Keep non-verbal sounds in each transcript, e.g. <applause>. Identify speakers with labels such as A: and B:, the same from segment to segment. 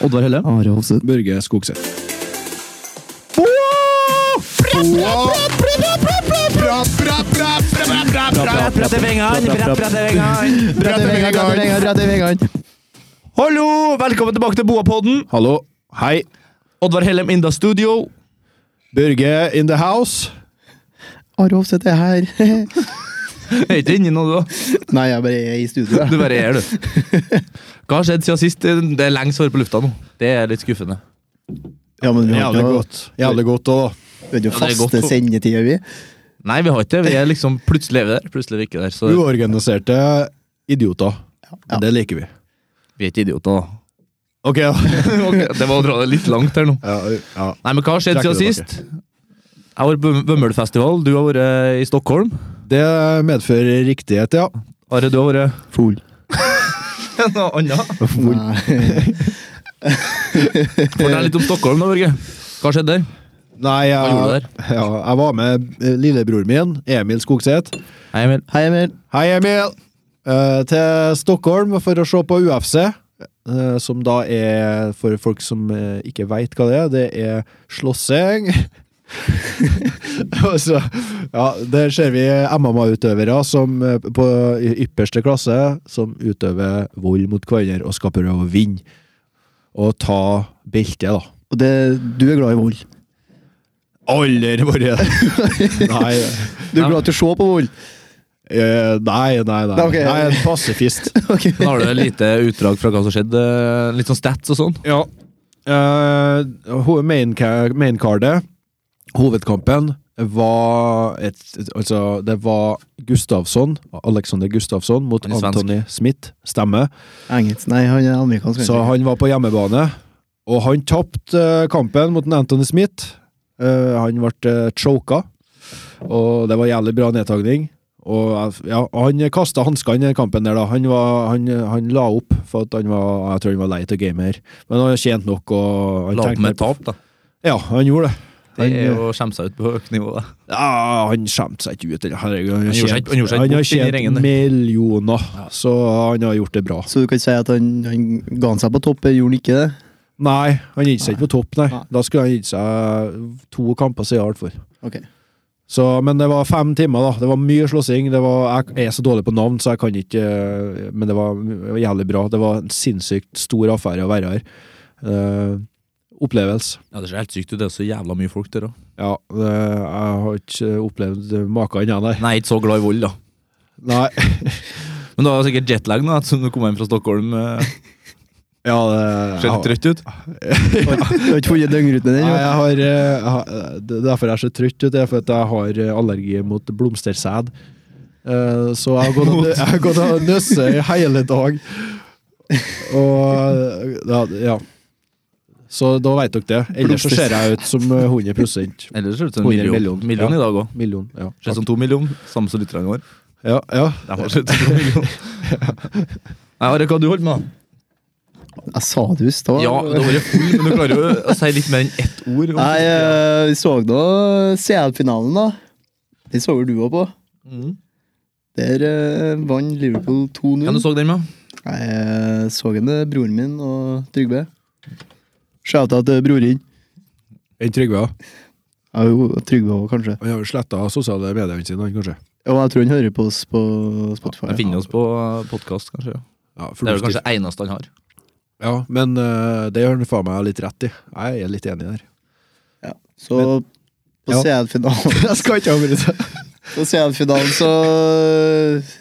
A: Oddvar Helle.
B: Are Hovseth.
C: Børge Skogseth.
D: Prat, prat i vengene, prat, prat i vengene.
B: Bratte Vegard, Bratte Vegard, Bratte Vegard.
D: Hallo! Velkommen tilbake til Boapodden.
C: Hallo. Hei.
D: Oddvar Hellem in the studio.
C: Børge in the house.
B: Are Hovseth er her. <laughs>
D: Jeg er ikke inni nå, da.
B: Nei, jeg bare er i studio.
D: Du bare er, du. Hva har skjedd siden sist? Det er lenge svar på lufta nå. Det er litt skuffende.
B: Ja, men vi har
C: Jævlig
B: ikke noe-
C: godt. Jævlig godt òg.
B: vi har ikke
D: Ja, det er godt
B: faste
D: å-
B: sendetider, vi.
D: Nei, vi har ikke det. Vi er liksom plutselig er vi der, plutselig er vi ikke der. Så
C: Uorganiserte idioter. Men Det liker vi.
D: vi er ikke idioter, da.
C: Ok, ja.
D: <laughs> Ok, det var å dra det litt langt her nå.
C: ja, <laughs> ja.
D: Nei, men hva har skjedd
C: Trekker
D: siden
C: det
D: sist? Jeg har vært på Vømmølfestival, du har vært i Stockholm.
C: Det medfører riktighet, ja.
D: Are, du har vært
B: Fol.
D: <laughs> noe annet.
B: Nei.
D: Fortell litt om Stockholm, da, Børge. Hva skjedde der?
C: Nei,
D: Hva gjorde
C: jeg,
D: du
C: ja, jeg var med eh, lillebroren min, Emil Skogseth.
D: Hei, Emil.
B: Hei, Emil.
C: Hei, Emil! Eh, til Stockholm for å se på UFC, eh, som da er, for folk som eh, ikke veit hva det er, det er slåssing. <laughs> Og så, ja, der ser vi MMA-utøvere som eh, på i ypperste klasse som utøver vold mot hverandre og skal prøve å vinne. Og ta beltet, da.
B: Og det, du er glad i vold.
C: Aldri vært <laughs> Nei,
B: Du
D: Ja.
B: er glad til å se på vold.
C: eh, nei, nei. nei.
B: Ok.
C: Jeg er en pasifist.
B: Ok.
D: Da har du et lite utdrag fra hva som skjedde. Litt sånn stats og sånn.
C: <laughs> Ja. Uh, Maincardet, hovedkampen, var et, et- Altså, det var Gustavsson, Alexander Gustavsson, mot
D: Han er svensk.
C: Anthony Smith. Stemmer.
B: Engelsk. Nei, han er amerikansk.
C: Så han var på hjemmebane, og han tapte eh, kampen mot en Anthony Smith. Eh, han ble uh, choka, og det var jævlig bra nedtagning. Og jeg- ja, og han kasta hanskene i den kampen der, da. Han, var, han, han la opp, for at han var, jeg tror han var lei av gamet her. Men han tjente nok, og han
D: La opp
C: tenkte-
D: med et tap, da.
C: Ja, han gjorde det.
D: Det
C: Han,
D: er å skjemme seg ut på høyt nivå. da.
C: ja, han skjemte seg ikke ut. eller, Herregud, han, har
D: Han gjorde seg-
C: tjent-
D: han gjorde seg
C: han har
D: bort inn i ringen
C: tjent
D: der.
C: millioner, så han har gjort det bra.
B: Så du kan si at han, han ga han seg på topp, gjorde han ikke det?
C: Nei, han gikk seg ikke på topp, nei.
B: Nei.
C: Da skulle han gitt seg eh, to kamper siden alt for.
B: Ok.
C: Så, men det var fem timer, da. Det var mye slåssing. Det var, jeg er så dårlig på navn, så jeg kan ikke eh, Men det var det var jævlig bra. Det var en sinnssykt stor affære å være her. Eh, opplevelse.
D: Ja, Det ser helt sykt ut. Det er så jævla mye folk der òg.
C: Ja, det, Eh, jeg har ikke opplevd maken ennå, nei.
D: Nei, ikke så glad i vold, da.
C: nei.
D: Men du har sikkert jetlag nå, ettersom du kom hjem fra Stockholm. eh,
C: <laughs> Ja, det,
D: Ser litt
C: jeg,
D: trøtt ut.
B: Du har ikke funnet
D: <laughs>
B: døgnrytmen
C: Nei,
B: ennå?
C: jeg har, eh, jeg har Det er derfor jeg er så trøtt. vet du, Det er for at jeg har eh, allergi mot blomstersæd. Eh, Så jeg har gått og- jeg har gått og nøsse i hele dag. Og ja, ja. Så da veit dere det. Ellers så ser jeg ut som eh, 100
D: Ellers ser det ut som en
C: 100
D: million.
C: million.
D: Million,
C: Ja.
D: i dag òg.
C: million. Ja,
D: Ser ut som to million, samme som lytterne våre.
C: ja, ja.
D: De har sett to million. <laughs> Nei, Are, hva har du holdt med? da?
B: Jeg sa det jo i stad.
D: Ja, du har vært full, men du klarer jo å si litt mer enn ett ord. om-
B: Nei, eh, vi så nå CL-finalen, da. Den så vel du òg på.
D: Mm.
B: Der eh, vant Liverpool
D: Ja,
B: 2-0.
D: du så den med?
B: Jeg så henne, broren min og Trygve. Shouta til broren.
C: Enn Trygve. ja.
B: Ja, jo, Trygve òg, kanskje.
C: Han har jo sletta sosiale mediene sine, han kanskje.
B: Og jeg tror han hører på oss på Spotify.
D: Den finner oss på podkast, kanskje. ja.
C: Ja,
D: Det er vel
C: fornuftig.
D: kanskje eneste han har.
C: ja, men eh, det gjør han faen meg litt rett i. Jeg er litt enig der.
B: Ja. Så på
C: Ja.
B: CL-finalen
C: Jeg skal ikke avbryte.
B: <laughs> På CL-finalen så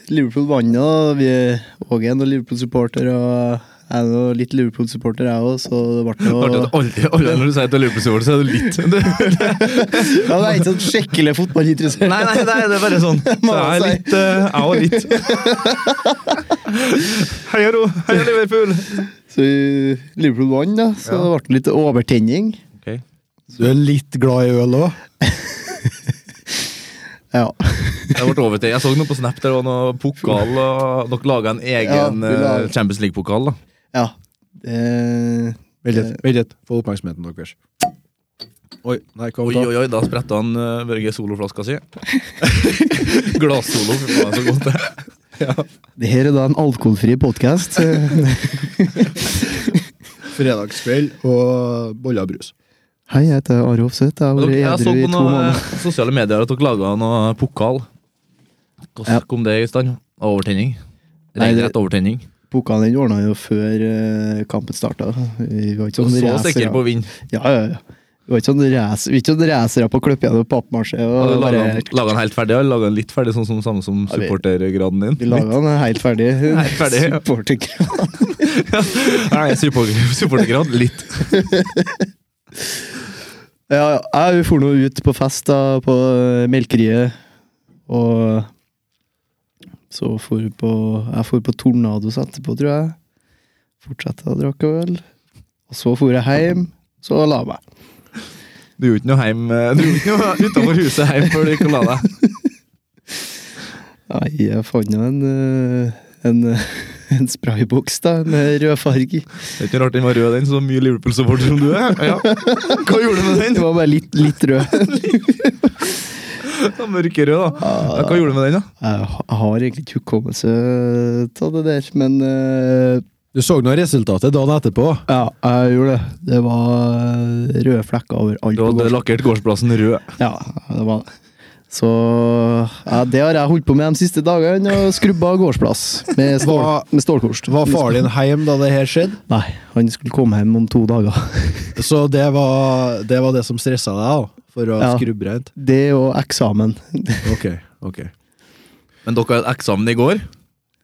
B: Liverpool vant, og vi Åge er nå Liverpool-supporter. Og jeg er nå litt Liverpool-supporter, jeg òg, så det ble
D: Artig
B: noe
D: at Alle, alle når du sier at det er løpesyvål, så er det litt
B: Ja, det er ikke sånn skikkelig
D: <laughs>
B: fotballinteressert.
D: Nei, nei, nei, det er bare sånn. <laughs> Så jeg er litt eh, Jeg òg litt. <laughs> Heia ro! Heia Liverpool!
B: Så eh, Liverpool vant, da, så
D: Ja.
B: det ble litt overtenning.
D: Ok.
C: Du er litt glad i øl òg?
B: Ja.
D: Det ble over til. Jeg så noe på Snap, der var noe pokal, og dere laga en
B: Ja,
D: egen
B: vi laget-
D: eh, Champions League-pokal. da.
B: ja. Det,
C: Vent litt, vent litt. Få oppmerksomheten deres. Oi, nei, hva
D: Oi,
C: var
D: oi,
C: det?
D: oi, <laughs> da spretta han eh, Børge soloflaska <laughs> si. Glassolo, fy faen, så godt det. <laughs>
B: det her er da en alkoholfri podkast.
C: fredagskveld og boller og brus.
B: Hei, jeg heter Are Hofseth. Jeg har
D: Dere,
B: vært
D: jeg så
B: edru i
D: på
B: to
D: noen eh,
B: måneder.
D: sosiale medier at dere laga noe pokal. Hvordan
B: Ja.
D: kom det i stand? Overtenning?
B: Nei, det-
D: Regnrett overtenning.
B: Pokalen den ordna jo før eh, kampen starta. Vi var ikke
D: Og
B: sånn
D: så
B: racere.
D: sikker på å vinne.
B: Ja, ja, ja. Vi var ikke sånn racer- vi er ikke sånn racere på å klippe gjennom pappmasje. og
D: Laga
B: bare-
D: den helt ferdig, eller laga den litt ferdig, sånn som samme som
B: Ja, vi-
D: supportergraden din?
B: Vi laga den helt ferdig.
D: Helt ferdig,
B: <laughs>
D: ja.
B: Supporterkrav.
D: Nei, support- <laughs> supportergrad litt.
B: Ja, ja. Jeg for nå ut på fest da, på eh, Melkeriet, og så for på, jeg for på Tornados etterpå, tror jeg. Fortsatte å drikke øl. Og så for jeg hjem, så la jeg meg.
D: Du gjorde ikke noe heim eh, Du gjorde ikke noe utenfor huset hjem før du gikk og la deg.
B: Nei, jeg fant nå en, eh, en, <laughs> eh, en sprayboks da, med rød farge i.
D: Det er ikke noe rart den var rød, den, så mye Liverpool-supporter som du er. Ja. Hva gjorde du med
B: Det
D: den?
B: var bare litt, litt rød.
D: Den var Mørkerød, da. Ja,
B: Ah,
D: Hva gjorde du med den, da?
B: Jeg ha- har egentlig ikke hukommelse av det der, men eh,
C: Du så nå resultatet dagen etterpå.
B: Ja, jeg gjorde det. Det var eh, røde flekker overalt.
D: Du
B: på
D: hadde
B: gården.
D: lakkert gårdsplassen rød.
B: Ja, det var det. Så ja, det har jeg holdt på med de siste dagene, og skrubba gårdsplass med, stål,
C: Var-
B: med stålkost.
C: Var far din hjem da det her skjedde?
B: Nei, han skulle komme hjem om to dager.
C: Så det var det, var det som stressa deg, da? For å
B: Ja.
C: skrubbe rent?
B: Det og eksamen.
C: Ok, ok.
D: Men dere hadde eksamen i går.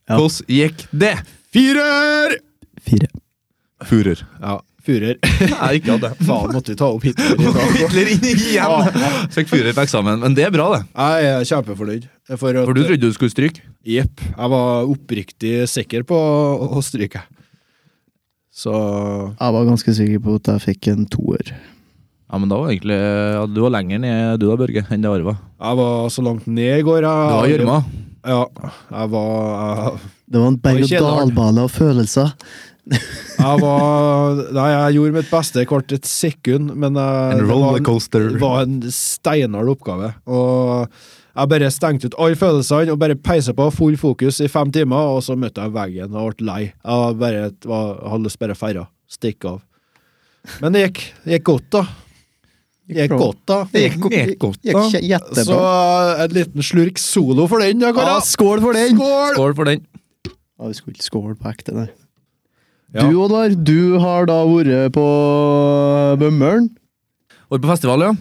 B: Ja.
D: Hvordan gikk det? Fyrer!
B: Fire.
D: Furer. <laughs>
C: Ja. Furer.
D: Jeg har ikke hatt det.
C: <laughs> Faen, måtte vi ta opp Hitler i <laughs> dag?
D: Hitler inn igjen! Fikk furer på eksamen, men det er bra, det.
C: Jeg er kjempefornøyd. For, at,
D: For du trodde du skulle stryke.
C: Jepp. Jeg var oppriktig sikker på å, å stryke. Så
B: Jeg var ganske sikker på at jeg fikk en toer.
D: Ja, men da var egentlig ja, Du var lenger ned, du da, Børge, enn det Arva.
C: jeg var så langt ned i går.
D: Du var
C: Jeg,
D: gjørma.
C: Ja. Jeg var jeg,
B: Det var en
C: Oi, kjedelig.
B: berg-og-dal-bane av følelser.
C: jeg var Nei, jeg gjorde mitt beste hvert et sekund, men jeg, det var en-
D: rollercoaster.
C: Det var en steinhard oppgave. Og jeg bare stengte ut alle følelsene og bare peisa på full fokus i fem timer, og så møtte jeg veggen og ble lei. Jeg bare, var, hadde lyst til bare å feire. Stikke av. Men det gikk, det gikk godt, da. Det gikk
B: bra.
C: godt, da.
D: Det gikk- det gikk godt,
B: gikk
D: da.
B: kje-
C: Så eh,
B: Jettebra.
C: en liten slurk solo for den, da,
B: Ja,
C: karer.
B: skål for den!
C: Skål!
D: Skål for den.
B: Ja, vi skulle ikke skåle på ekte, nei.
C: Ja.
B: Du, Oddvar, du har da vært på Bømmeren.
D: Var på festival, ja.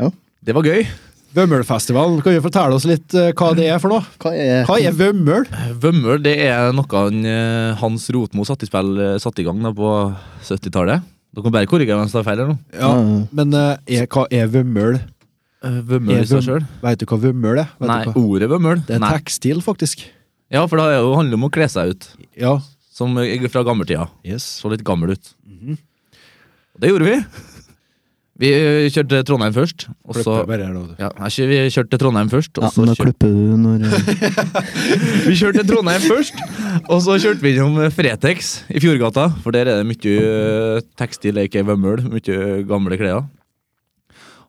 B: Ja.
D: Det var gøy.
C: Vømmølfestivalen, kan du fortelle oss litt eh, hva det er for noe?
B: Hva er
C: Hva er Vømmøl?
D: Vømmøl det er noe han, eh, Hans Rotmo satte i, spill, eh, satt i gang da på 70-tallet. Dere kan bare korrigere meg hvis jeg tar feil. her nå.
C: Ja, men eh, er, hva er Vømmøl?
D: Eh, Vømmøl i seg sjøl?
C: Vet du hva Vømmøl er? Vet du
D: Nei,
C: hva?
D: ordet vømmøl.
C: Det er
D: Nei.
C: tekstil, faktisk.
D: Ja, for det er jo- handler om å kle seg ut.
C: Ja.
D: Som eh, fra gammeltida.
C: Yes.
D: Så litt gammel ut. Og Det gjorde vi. Vi eh, kjørte til Trondheim først. Og
C: Klipper
D: så
C: bare her nå, du.
D: ja, nei, ikke vi kjørte til Trondheim først. Og
B: Ja,
D: så
B: men da
D: kjørte,
B: klipper du når
D: vi kjørte til Trondheim først, og så kjørte vi innom eh, Fretex i Fjordgata. For der er det mye eh, tekstil, ikke vømmøl. Mye gamle klær.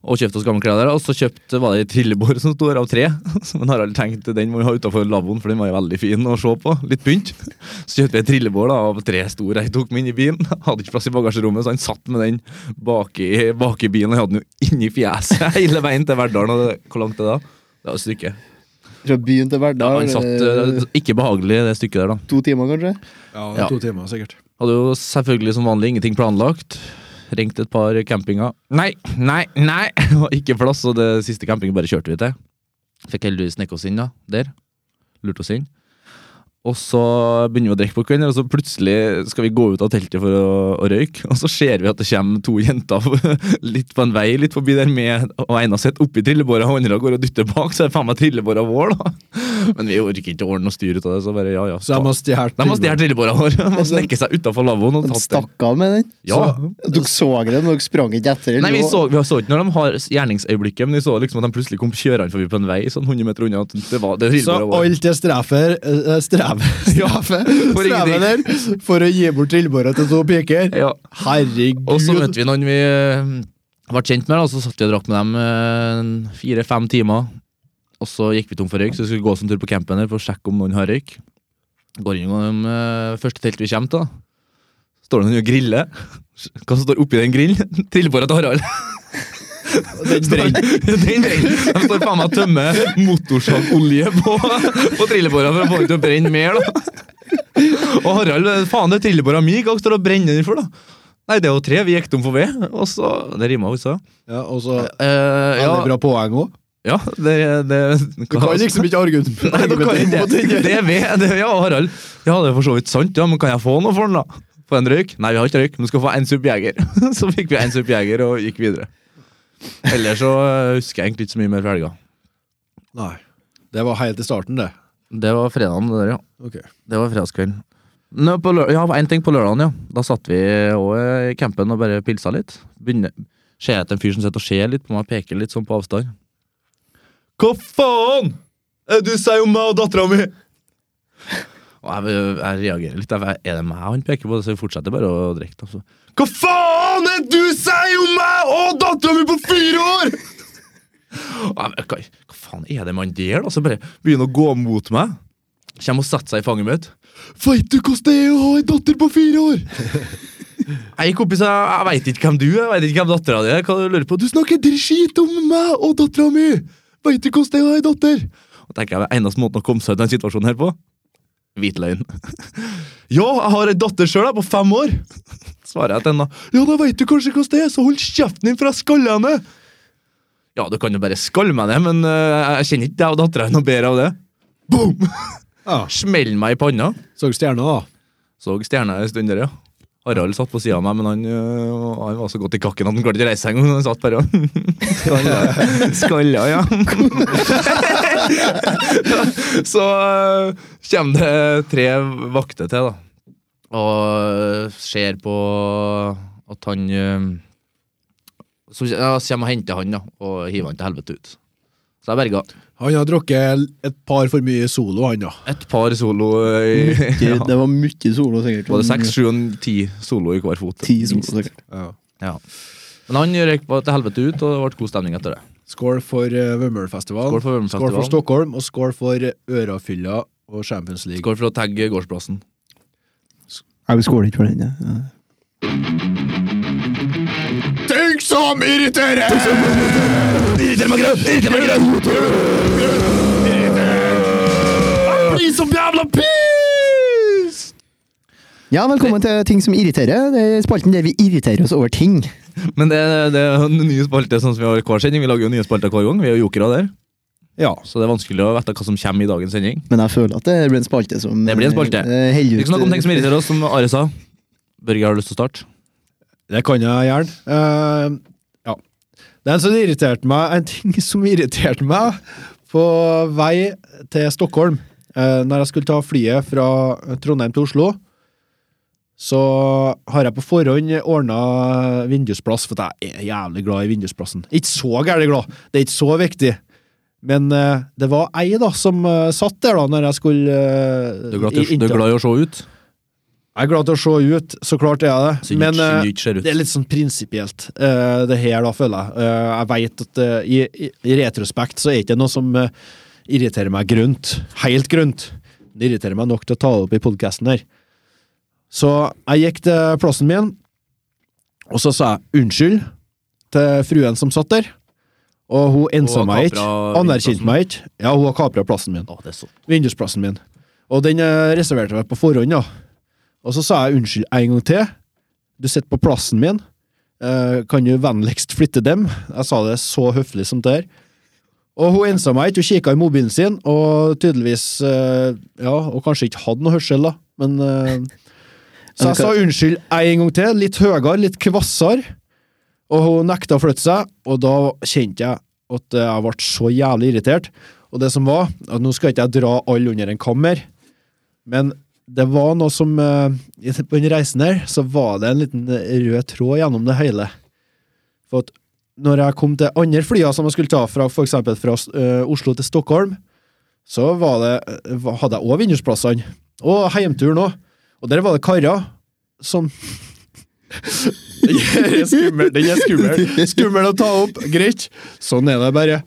D: Og kjøpte oss gamle klær der. Og så kjøpte, var det ei trillebår som sto her av tre. <laughs> Men Harald tenkte den må vi ha utafor lavvoen, for den var jo veldig fin å se på. Litt pynt. Så kjøpte vi et trillebår da, av tre store. Jeg tok med inn i bilen. <laughs> Hadde ikke plass i bagasjerommet, så han satt med den bak i, bak i bilen. Og jeg hadde den jo inni fjeset <laughs> hele veien til Verdalen. Og det, hvor langt er det da? Det er jo et stykke.
B: Fra byen til Verdal.
D: Han satt eh, ikke behagelig i det stykket der, da.
B: to timer, kanskje?
C: Ja,
D: Ja.
C: to timer sikkert.
D: Hadde jo selvfølgelig som vanlig ingenting planlagt. Ringte et par campinger. Nei, nei, nei! <laughs> Og ikke plass, og det siste campingen bare kjørte vi til. Fikk heldigvis snekket oss inn da, der. Lurte oss inn. Og så begynner vi å drikke på kvelden, og så plutselig skal vi gå ut av teltet for å, å røyke. Og så ser vi at det kommer to jenter <laughs> litt på en vei litt forbi der med og ene sitter oppi trillebåra, og andre går og dytter bak, så er det faen meg trillebåra vår, da. <laughs> Men vi orker ikke å ordne noe styr ut av det, så bare ja, ja.
C: Så jeg må stjele
D: De har stjålet trillebåra vår. De har snekket seg utafor lavvoen og
B: De
D: tatt den.
B: stakk av med den?
D: Ja.
B: Dere så det, men dere sprang ikke etter?
D: Nei, vi så, vi så ikke når de har gjerningsøyeblikket, men vi så liksom at de plutselig kom kjørende forbi på en vei sånn 100 meter unna. at Det var, det var
C: Så
D: trillebåra vår.
C: alt er strefer eh, streve,
D: <laughs> Ja,
C: strefe,
D: for
C: streve der for å gi bort trillebåra til to piker?
D: Ja.
C: Herregud.
D: Og så møtte vi noen vi eh, ble kjent med, da, og så satt vi og drakk med dem eh, fire-fem timer. Og så gikk vi tom for røyk, så vi skulle gå oss en tur på campen her for å sjekke om noen har røyk. Går inn i eh, første telt vi kommer til. da. Så står det noen og griller. <laughs> Hva som står oppi den grillen? <laughs> Trillebåra til Harald. Den brenner. <laughs> Den brenner. De står faen meg og tømmer motorsagolje på, på trillebåra for å få den til å brenne mer. da. Og Harald, eh, faen det er trillebåra mi, hva står det og brenner den for? da? Nei, det er jo tre, vi gikk tom for ved. Og så, Det rima jo, sa
C: Ja, og så
D: Eh,
C: Veldig
D: ja,
C: bra poeng òg.
D: ja, det, det
C: Du kan liksom ikke argumentere
D: Nei, nå kan jeg
C: mot
D: ikke.
C: den.
D: Det er ved, det er, ja, Harald. Ja, det er for så vidt sant, ja, men kan jeg få noe for den, da? Få en røyk? Nei, vi har ikke røyk, men du skal få en supp jeger. <laughs> Så fikk vi en supp jeger og gikk videre. Ellers så eh, husker jeg egentlig ikke så mye mer fra helga.
C: Nei. Det var helt i starten, det.
D: Det var fredagen, det der, ja.
C: Ok.
D: Det var fredagskvelden. Nå, på lø- ja, en ting på lørdagen, ja. Da satt vi òg i campen og bare pilsa litt. Begynner, ser jeg etter en fyr som sitter og ser litt på meg, peker litt sånn på avstand. Hva faen er det du sier om meg og dattera mi?! Og jeg, jeg reagerer litt. Jeg, er det meg han peker på? Så vi fortsetter bare å drikke. da, så. Hva faen er det du sier om meg og dattera mi på fire år?! Og jeg, hva, hva faen er det med han der, da? Så bare begynner å gå mot meg. Kjem og setter seg i fanget mitt. Veit du hvordan det er å ha en datter på fire år? <laughs> Hei, kompis, jeg, jeg veit ikke hvem du er, jeg vet ikke hvem dattera di er. Hva du lurer på? Du snakker dritskit om meg og dattera mi! Veit du hvordan det er å ha en datter? Og tenker jeg, Eneste måten å komme seg ut av den situasjonen her på? Hvit løgn. <laughs> ja, jeg har en datter sjøl, jeg, på fem år! Svarer jeg til henne. da. Ja, da veit du kanskje hvordan det er, så hold kjeften din, for jeg skaller henne! Ja, du kan jo bare skalle meg ned, men eh, jeg kjenner ikke deg og dattera noe bedre av det. Boom!
C: Ja.
D: Smell meg i panna.
C: Så stjerna, da.
D: Så stjerna en stund der, ja. Harald satt på sida av meg, men han, øh, han var så godt i kakken at han klarte ikke å reise seg engang. så Han satt bare og <laughs> Skalla. Skalla, ja. <laughs> så øh, kommer det tre vakter til, da. Og ser på at han øh, Så ja, så kommer og henter han, da, og hiver han til helvete ut. Så jeg berga
C: Han har drukket et par for mye solo, han, da.
D: et par solo øh, <laughs> i
B: Ikke- Det var mye solo, sikkert.
D: Var det seks, sju og ti Mm. solo i hver fot?
B: Ti solo, sikkert.
C: Ja.
D: Ja. Men han røyk bare til helvete ut, og det ble god stemning etter det.
C: Skål for uh, Vømmølfestivalen.
D: Skål for Vømmølfestivalen.
C: Skål for Stockholm, og skål for Ørafylla og Champions League.
D: Skål for å tagge gårdsplassen.
B: Nei, vi skåler ikke for den. Ja. Ja.
C: Ting som irriterer!
D: Irriter meg grønn! Irriter meg grønn! Bli som jævla pis!
B: Ja, velkommen til ting som irriterer. Det er spalten der vi irriterer oss over ting.
D: Men det, det er jo en ny spalte sånn som vi har i hver sending. Vi lager jo nye spalter hver gang. Vi er jo jokere der,
C: Ja.
D: så det er vanskelig å vite hva som kommer i dagens sending.
B: Men jeg føler at det blir en spalte som
D: Det blir en spalte.
B: eh, heller ut-
D: Ikke snakk om ting som irriterer oss, som Are sa. Børge, har du lyst til å starte?
C: Det kan jeg gjerne. Eh, ja. Det er en som irriterte meg, en ting som irriterte meg på vei til Stockholm. Uh, når jeg skulle ta flyet fra Trondheim til Oslo, så har jeg på forhånd ordna vindusplass, for jeg er jævlig glad i vindusplassen. Ikke så gærent glad, det er ikke så viktig. Men eh, det var ei da som eh, satt der da når jeg skulle eh,
D: Du er glad, til,
C: i-
D: du er glad i å se ut?
C: Jeg er glad til å se ut, så klart er jeg det.
D: Så
C: Men,
D: ikke,
C: eh,
D: ikke ser ut.
C: det er litt sånn prinsipielt, eh, det her, da, føler jeg. Eh, jeg veit at eh, i, i, i retrospekt så er ikke det noe som eh, irriterer meg grønt. Helt grønt. Det irriterer meg nok til å ta det opp i podkasten her. Så jeg gikk til plassen min, og så sa jeg unnskyld til fruen som satt der. Og hun ensa
D: har
C: meg ikke.
D: kapra
C: Anerkjente meg ikke. Ja, hun har kapra plassen min
D: Å, det er så
C: vindusplassen min. Og den eh, reserverte jeg på forhånd, da. Og så sa jeg unnskyld en gang til. Du sitter på plassen min. Eh, kan du vennligst flytte dem? Jeg sa det så høflig som det er. Og hun ensa meg ikke, hun kikka i mobilen sin, og tydeligvis eh, Ja, og kanskje ikke hadde noe hørsel, da, men eh, Så jeg sa unnskyld en gang til, litt høyere, litt kvassere, og hun nekta å flytte seg, og da kjente jeg at eh, jeg ble så jævlig irritert. Og det som var, at nå skal ikke jeg dra alle under en kammer, men det var noe som eh, i- På den reisen her, så var det en liten eh, rød tråd gjennom det hele. For at når jeg kom til andre flyer som jeg skulle ta fra for eksempel fra eh, Oslo til Stockholm, så var det, eh, hadde jeg òg vindusplassene. Og heimturen òg. Og der var det karer som <laughs> Den er skummel, den er skummel. Skummel å ta opp. Greit. Sånn er det bare.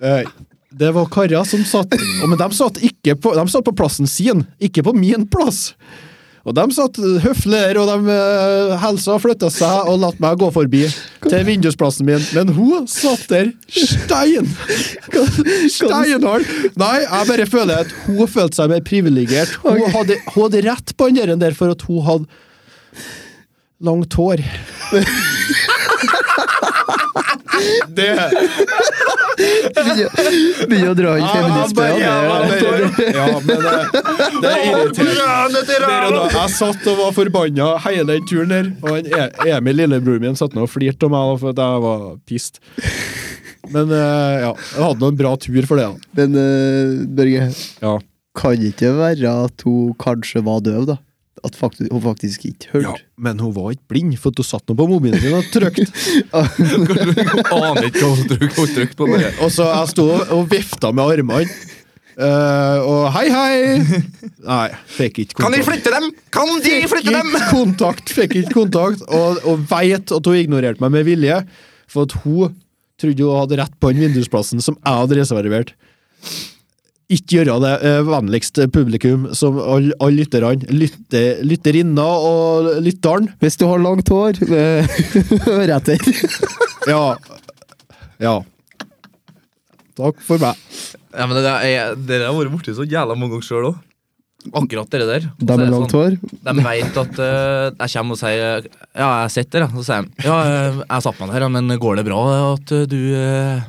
C: Eh, Det var karer som satt og Men de satt ikke på, de satt på plassen sin, ikke på min plass. Og de satt høflig der, og de eh, helsa flytta seg og latt meg gå forbi til vindusplassen min. Men hun satt der stein! Steinhard! Nei, jeg bare føler at hun følte seg mer privilegert. Hun, hadde, hun hadde rett på den der der for at hun hadde langt hår. Det
B: <laughs> Begynner å dra inn
D: Ah,
B: feministbøya.
C: Ah, Ja, men det, det er irriterende. Der og da. Jeg satt og var forbanna hele den turen her. Og han E- Emil, lillebroren min, satt nå og flirte av meg da, for at jeg var pissed. Men eh, ja, jeg hadde nå en bra tur for det, da.
B: Men eh, Børge,
C: Ja.
B: kan ikke være at hun kanskje var døv, da? At faktu- hun faktisk ikke hørte?
C: men hun var ikke blind, for hun satt nå på mobilen sin og trykte.
D: Jeg aner ikke hva hun trykk- hun trykte på. Bare.
C: Og så jeg sto og vifta med armene. Eh, og hei, hei! Nei, fikk ikke kontakt.
D: flytte dem?! Kan de
C: Fikk ikke kontakt, fikk ikke kontakt, og, og veit at hun ignorerte meg med vilje, for at hun trodde hun hadde rett på den vindusplassen som jeg hadde reservert. Ikke gjøre det, eh, vennligst publikum, som alle all lytterne, lytte, lytterinna og lytteren.
B: Hvis du har langt hår, eh, <laughs> hør etter.
D: <laughs>
C: Ja. Ja. Takk for meg.
D: Ja, men det, der, jeg, det der har vært borti så jævla mange ganger sjøl òg. Akkurat det der. Og så
B: De
D: er
B: med
D: det
B: langt
D: sånn-
B: hår?
D: De veit at eh, jeg kommer og sier Ja, jeg sitter, ja. Så sier de ja, eh, jeg satte meg ned, ja, men går det bra at eh, du eh?»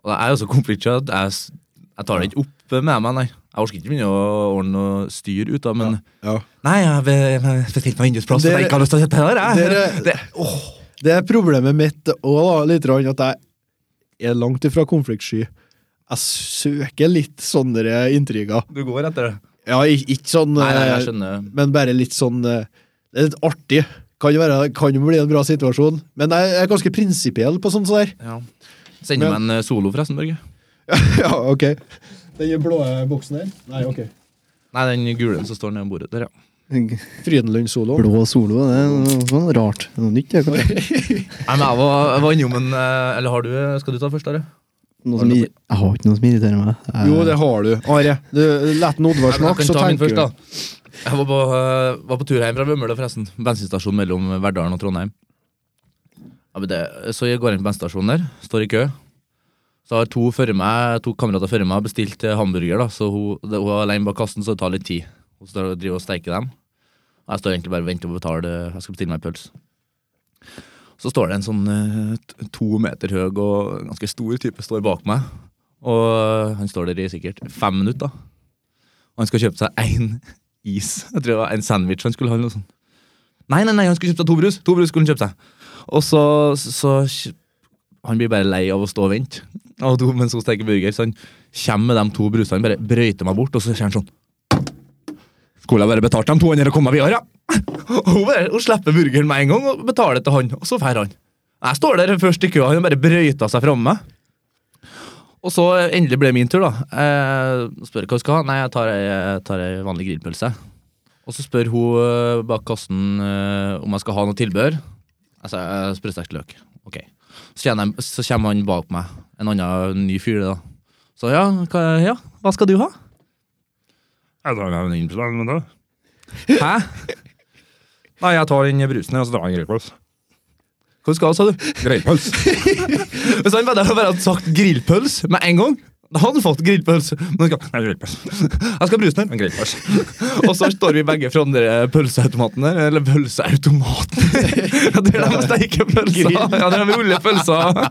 D: Og Jeg er jo så konfliktsky at jeg, s- jeg tar det ikke opp med meg, nei. Jeg orker ikke begynne å ordne og styre ut av, men
C: Ja.
D: Nei, jeg be- jeg bestilte meg vindusplass, for
C: Dere-
D: jeg ikke har lyst til å sitte her.
C: dere-
D: Jeg. Det, åh,
C: Det er problemet mitt òg, da, litt rann, at jeg er langt ifra konfliktsky. Jeg søker litt sånne intriger.
D: du går etter det.
C: Ja, ik- ikke sånn
D: Nei, nei,
C: eh,
D: jeg skjønner.
C: men bare litt sånn eh, Det er litt artig. Kan jo, være, kan jo bli en bra situasjon, men jeg er ganske prinsipiell på sånn sånt.
D: <laughs>
C: der.
D: Ja. Sender meg en eh, solo, forresten, Børge.
C: ja, ok. Den blå eh, boksen her? Nei, ok.
D: Nei, den gule som står nede ved bordet der, ja.
C: Frydenlund-solo.
B: Blå solo, det er noe sånn rart. Det er Noe nytt, det, kanskje.
D: Nei, men jeg var, jeg var innom en eh, Eller har du Skal du ta først, Are?
B: Noe som, irri- jeg har ikke noe som irriterer meg. Eh, Jeg-
C: Jo,
B: <laughs>
C: det har du. Are, du la den Oddvar
D: Nei, men
C: snakke,
D: jeg
C: så
D: kan ta min
C: tenker
D: først,
C: du.
D: da. Jeg var på, eh, var på tur hjem fra Vømmøla, forresten. Bensinstasjon mellom Verdalen og Trondheim. Ja, men det, så jeg går inn på bensinstasjonen der, står i kø. Så har to, før meg, to kamerater før meg bestilt eh, hamburger, da, så hun, det- hun er alene bak kassen, så det tar litt tid. Hun står og driver og steiker dem. Og jeg står egentlig bare og venter på å betale, jeg skal bestille meg en pølse. Så står det en sånn eh, t- to meter høy og ganske stor type står bak meg. Og eh, han står der i sikkert fem minutter. da. Og han skal kjøpe seg én is. Jeg tror det var En sandwich han skulle ha. eller noe sånt. Nei, nei, nei, han skulle kjøpe seg to brus. To brus skulle han kjøpe seg. Og så, så kj- Han blir bare lei av å stå og vente Og to, mens hun steker burger. Så han kommer med de to brusene, bare brøyter meg bort, og så sier han sånn Skulle jeg bare betalt de to andre og kommet videre, ja? Og hun, bare, hun slipper burgeren med en gang og betaler til han, og så drar han. Jeg står der først i køa, han bare brøyta seg framme meg. Og så endelig ble det min tur, da. Eh, spør hva hun skal ha. Nei, jeg tar ei, jeg tar ei vanlig grillpølse. Og så spør hun eh, bak kassen eh, om jeg skal ha noe tilbehør. Altså, eh, sprøstekt løk. Ok. Så, kjenner jeg, så kommer han bak meg. En annen ny fyr, da. Så ja, hva, ja, hva skal du ha? Jeg tar en innplan, men da. Hæ? Nei, jeg tar den brusen, og så tar jeg en grillpølse. Hva skal du ha, sa du? Grillpølse. Hvis han bare bare hadde sagt grillpøls med en gang da hadde han fått grillpøls. Men han skal, nei, grillpøls. Jeg skal ha brusen her, men grillpøls. <laughs> Og så står vi begge fra den der eh, pølseautomaten der. Eller pølseautomaten! Ja, det er der de steiker pølser. Ja, det er der de ruller pølser.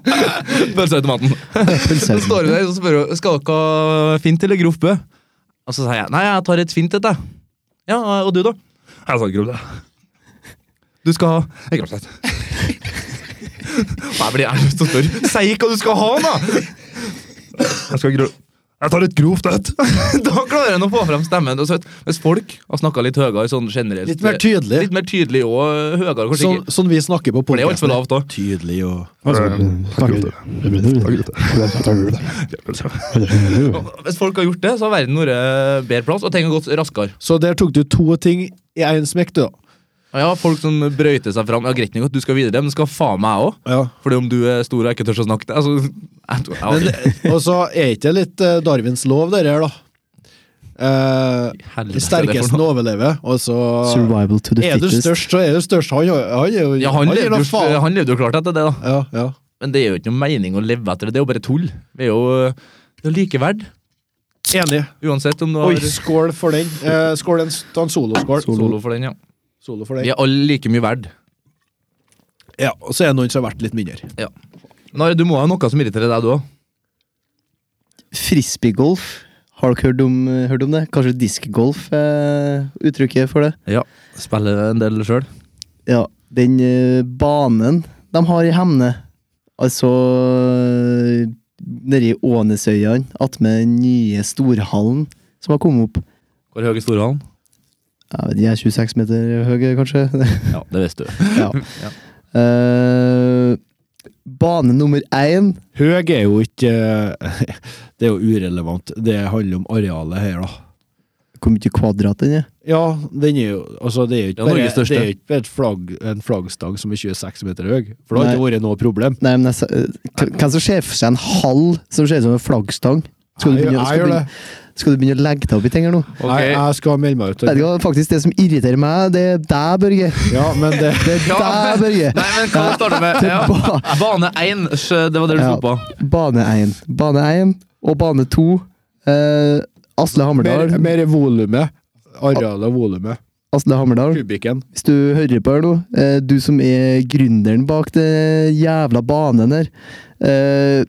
D: Pølseautomaten. Så
C: <laughs>
B: Pølse.
D: står hun der og spør hun, skal dere ha fint eller grovt bø. Og så sier jeg nei, jeg tar et fint et. jeg». Ja, og du, da? Jeg sa grovt, jeg. Du skal ha en grovt et. Jeg blir jeg nødt til å spørre. Si hva du skal ha, da! Jeg skal gro... Jeg tar et grovt et. <laughs> da klarer en å få frem stemmen. Og så, vet- hvis folk har snakka litt høyere sånn generelt
C: Litt mer tydelig.
D: Litt mer tydelig og høyere, kanskje
C: Sånn,
D: ikke.
C: sånn vi snakker på
D: For det er jo altfor
C: podcasten.
D: lavt òg.
C: Tydelig og
D: Hvis folk har gjort det, så har verden vært bedre plass, og ting har gått raskere.
C: Så der tok du to ting i én smekk, du, da.
D: Ja, ja, folk som brøyter seg fram. Ja, Greit nok at du skal videre, men du skal faen meg òg.
C: Ja.
D: Fordi om du er stor og ikke tør å snakke altså, jeg, tror- jeg,
C: <laughs> Og så er ikke det litt eh, Darwins lov, det her, da? Eh, de
D: Helvete, det er for
C: sterkeste
D: noe.
C: overlever, og så
B: Survival to the
C: er du
B: fittest.
C: størst, så er du størst. Han, han er jo
D: Ja, han
C: gir da
D: levde, jo,
C: faen.
D: han levde jo klart etter det, da.
C: Ja, ja.
D: Men det er jo ikke noe mening å leve etter det. Det er jo bare tull. Vi er jo, det er jo likeverd.
C: Enig.
D: Uansett om du har
C: Oi, skål for den. Eh, skål en, ta en soloskål.
B: Solo.
D: solo for den, ja.
C: Solo for
D: Vi
C: den.
D: er alle like mye verd.
C: Ja, og så er det noen som har vært litt mindre.
D: Nare, du må ha noe som irriterer deg, du òg.
B: Frisbeegolf. Har dere hørt om, hørt om det? Kanskje diskgolf er uttrykket for det?
D: Ja. Spiller en del sjøl.
B: Ja, den eh, banen de har i Hemne, altså eh, nedi Ånesøyene, attmed den nye storhallen som har kommet opp.
D: Hvor høy er storhallen?
B: Jeg vet, ikke, jeg er 26 meter høye, kanskje? <laughs>
D: Ja, det visste du.
B: ja. Eh, bane nummer én
C: Høg er jo ikke <laughs> eh, Det er jo urelevant. Det handler om arealet her, da.
B: Hvor mye kvadrat den er?
C: Ja, den er jo Altså, det er jo
D: Ja,
C: ikke bare,
D: Norges største.
C: det er jo ikke bare et flagg, en flaggstang som er 26 meter høy, for det har ikke vært noe problem.
B: Nei, men jeg, sa- eh, hvem hvem som ser for seg en hall som ser ut som en flaggstang? Skal du
C: Jeg-
B: begynne,
C: jeg
B: skal
C: gjør
B: du begynne, skal du begynne å legge deg opp i ting her nå?
C: Jeg, jeg skal melde meg ut.
B: Vet du hva, faktisk Det som irriterer meg, det er deg, Børge.
C: <laughs> Ja, men det
B: Det er
D: Ja.
B: deg, Børge.
D: Nei, men hva starter
C: <laughs>
D: med? Ja.
B: Ba
D: Bane 1, det var det du
B: Ja.
D: tok på.
B: bane 1. Bane 1 og bane 2. Eh, Asle
C: <laughs> Mer,
B: Hammerdal.
C: mer volumet. Arealet og volumet.
B: Asle Hammerdal,
C: Kubikken.
B: hvis du hører på her nå, eh, du som er gründeren bak den jævla banen her eh,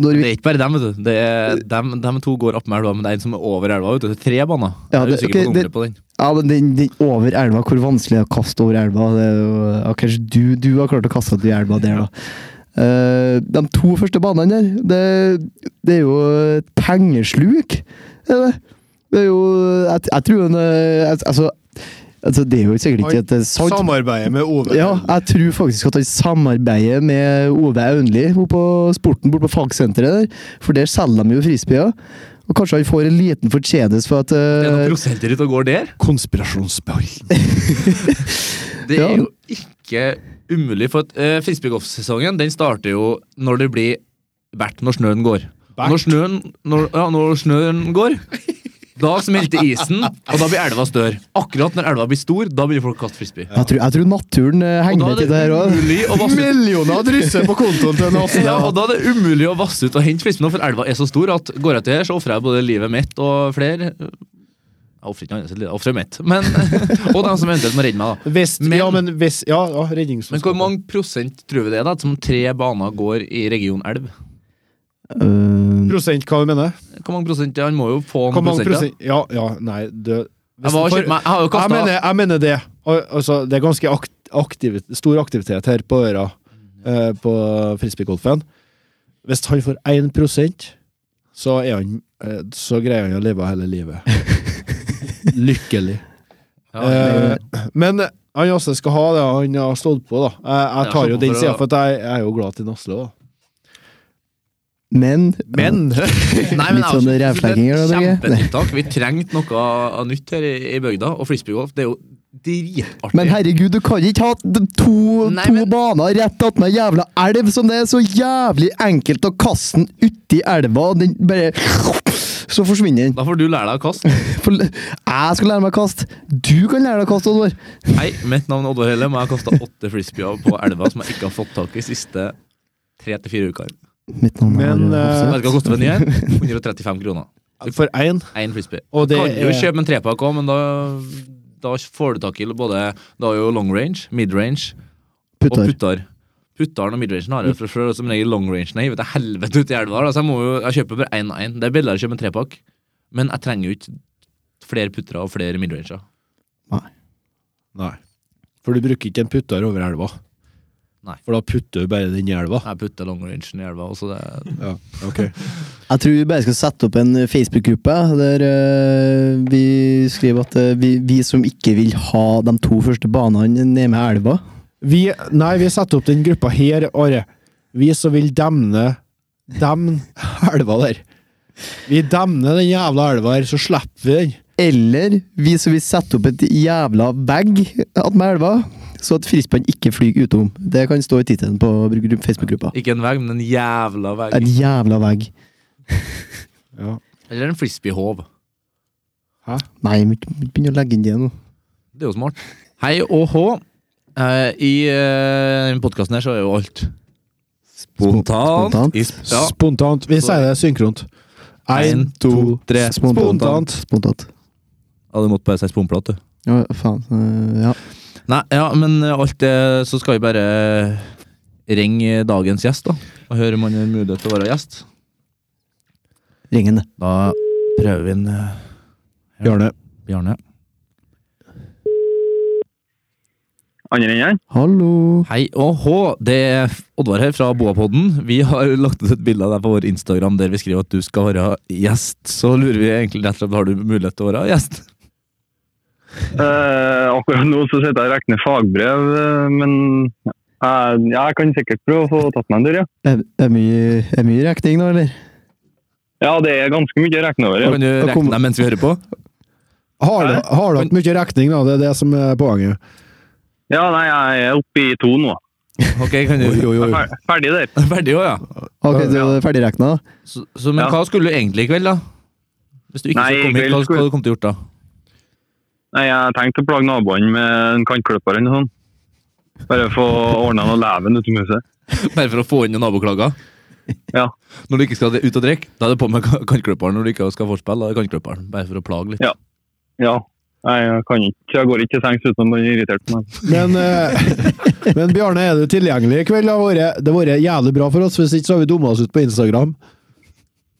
B: når
D: Det
B: vi,
D: er ikke bare dem, vet du. Det er, dem, dem to går opp med elva, men det er en som er over elva. Vet du. Det er tre baner.
B: Ja,
D: jeg er
B: det-
D: usikker
B: ok,
D: på
B: det-
D: nummeret på den.
B: ja, men den, den over elva, hvor vanskelig er det å kaste over elva? Det er jo, ja, kanskje du, du har klart å kaste deg i elva der, da. Eh, de to første banene der, det, det er jo et pengesluk. Er det? det er jo Jeg, jeg tror den eh, al- altså, altså, det er jo sikkert ikke at det er sant.
C: Samarbeidet med Ove.
B: Ja, jeg tror faktisk at han samarbeider med Ove Aunli oppe på Sporten, borte på fagsenteret der. For der selger de jo frisbeer. Og kanskje han får en liten fortjeneste for at
D: Det er
B: eh,
D: noen prosenter ute og går der.
C: Konspirasjonsballen.
D: Det
B: Ja.
D: er jo ikke umulig, for at uh, frisbeegolfsesongen den starter jo når det blir bert når snøen går. Og Når snøen, når, ja, når snøen går, da smelter isen, og da blir elva større. Akkurat når elva blir stor, da begynner folk å kaste frisbee.
B: jeg, tror, jeg tror naturen eh,
D: Og
B: henger
D: da
B: med til det
D: er
B: her
D: det
B: òg.
D: umulig å vasse ut
C: Millioner drysser på kontoen til Nasse.
D: ja, og da er det umulig å vasse ut og hente frisbee, nå, for elva er så stor at går jeg til her, så ofrer jeg både livet mitt og flere. Jeg ofrer ikke annet, jeg ofrer mitt. Men, <laughs> og dem som eventuelt må redde meg, da.
C: <laughs> Hvis,
D: Men-
C: ja, men hvis Ja, ja rednings-
D: Men hvor mange prosent tror vi det er da, at som tre baner går i region elv?
B: Eh,
C: prosent, hva du mener
D: Hvor mange prosent? Han må jo få noen
C: Hvor mange
D: prosent, da.
C: prosent? Ja, ja, nei, det
D: Jeg, var og kjøpte meg, jeg har jo
C: jeg,
D: kastet
C: mener, jeg mener det. Al- Altså, det er ganske akt, aktiv, stor aktivitet her på øra eh, på frisbeegolfen. Hvis han får 1 så, er han, eh, så greier han å leve hele
D: <laughs>
C: livet. Lykkelig.
D: Ja,
C: Eh, men han Asle skal ha det han har stått på, da. Eh, Jeg, jeg
D: Ja,
C: tar jo
D: sånn
C: den
D: for å-
C: sida, for at jeg, jeg er jo glad til Asle òg.
B: men
D: <laughs> Nei,
B: Litt
D: jeg har
B: sånn
D: ikke-
B: rævslegginger,
D: det er et
B: da, Børge.
D: Kjempetiltak. Vi trengte noe av nytt her i, i bygda, og frisbeegolf det er jo dritartig.
B: men herregud, du kan ikke ha d- to,
D: Nei,
B: to
D: men-
B: baner rett attmed ei jævla elv som det er så jævlig enkelt å kaste den uti elva, og den bare Så forsvinner den.
D: da får du lære deg å kaste.
B: For jeg skal lære meg å kaste. Du kan lære deg å kaste, Oddvar.
D: Hei, mitt navn er Oddvar Hellem, og jeg har kasta åtte frisbeer på elva som jeg ikke har fått tak i de siste tre til fire ukene.
B: Mitt navn er
C: Men, eh,
D: Vet du hva koster en ny en? 135 kroner.
C: For én,
D: Én frisbee.
C: og det
D: kan jo
C: er
D: kjøpe en trepakk òg, men da, da får du tak i både Da er jo long range, mid range og
B: Puttar.
D: puttar. Puttaren og midrangen har jeg fra før, og som regel long range. Nei, vet du, helvete ut i elva, da, så jeg må jo Jeg kjøper bare én og én. Det er billigere å kjøpe en trepakk, men jeg trenger jo ikke flere puttere og flere midranger.
C: Nei. For du bruker ikke en putter over elva.
D: Nei.
C: For da putter du bare den i elva.
D: Jeg putter long rangen i elva, og så det
C: Ja, ok. <laughs>
B: Jeg tror vi bare skal sette opp en eh, Facebook-gruppe der eh, vi skriver at eh, vi, vi som ikke vil ha de to første banene nede med elva
C: Vi, nei, vi setter opp den gruppa her, Are. Vi som vil demne Demne <laughs> elva der. Vi demner den jævla elva her, så slipper vi den.
B: Eller vi som vil sette opp et jævla bag attmed elva, så at frisbeen ikke flyr utom. Det kan stå i tittelen på gru- Facebook-gruppa.
D: Ikke en vegg, men en jævla vegg.
B: En jævla vegg.
C: Ja.
D: Eller en frisbeehåv.
C: Hæ?
B: Nei, vi må ikke- vi må ikke begynne å legge inn det nå.
D: Det er jo <laughs> smart. Hei og hå. Eh, I eh, denne podkasten her så er jo alt spontant.
B: Spontant.
D: I sp ja.
C: Spontant. Vi
D: Så-
C: sier det synkront. Én,
D: En,
C: to, tre. Spontant.
B: Spontant.
D: ja, du måtte bare si sponplat, du.
B: Ja, faen. eh, Ja.
D: Nei, ja, men eh, alt det Så skal vi bare eh, ringe dagens gjest, da. Og høre om han har mulighet til å være gjest.
B: Ring henne.
D: Da prøver vi en eh,
C: Bjarne.
D: Bjarne.
A: Andre enden?
B: Hallo.
D: Hei og hå, det er Oddvar her fra Boapodden. Vi har lagt ut et bilde av deg på vår Instagram der vi skriver at du skal være gjest. Så lurer vi egentlig rett og slett har du mulighet til å være gjest.
A: Eh, akkurat nå så sitter jeg og regner fagbrev, eh, men eh, ja, jeg kan sikkert prøve å få tatt meg en tur, ja.
B: Er det mye, er mye regning nå, eller?
A: Ja, det er ganske mye å rekne over.
D: Da
A: Ja.
D: kan du
B: da kom-
D: regne deg mens vi hører på.
C: Har du har du hatt mye regning, da? Det er det som er poenget.
A: ja, nei, jeg er oppe i to nå.
D: Ok, kan du
C: jo,
A: Jeg er fer- Ferdig der.
D: Ferdig òg, ja.
B: Ok, du er ferdigregna?
D: Så, så, men
A: Ja.
D: hva skulle du egentlig i kveld, da? Hvis du ikke
A: Nei,
D: skulle
A: i
D: komme hit, hva
A: kveld skulle-
D: skulle du kommet til å gjort da?
A: Nei, jeg tenkte å plage naboene med en kantklipper eller noe sånt. Bare få ordna noe leven ute i huset.
D: Bare for å få inn noen naboklager?
A: Ja.
D: Når du ikke skal ut og drikke, da er det på med ka- kantklipperen. Når du ikke skal forspille, da er det kantklipperen. Bare for å plage litt.
A: Ja. Ja. Nei, jeg kan ikke. Jeg går ikke til sengs uten å bli irritert på meg.
C: Men, eh, <laughs> men Bjarne, er du tilgjengelig i kveld? Det har vært- det har vært jævlig bra for oss, hvis ikke så har vi dumma oss ut på Instagram.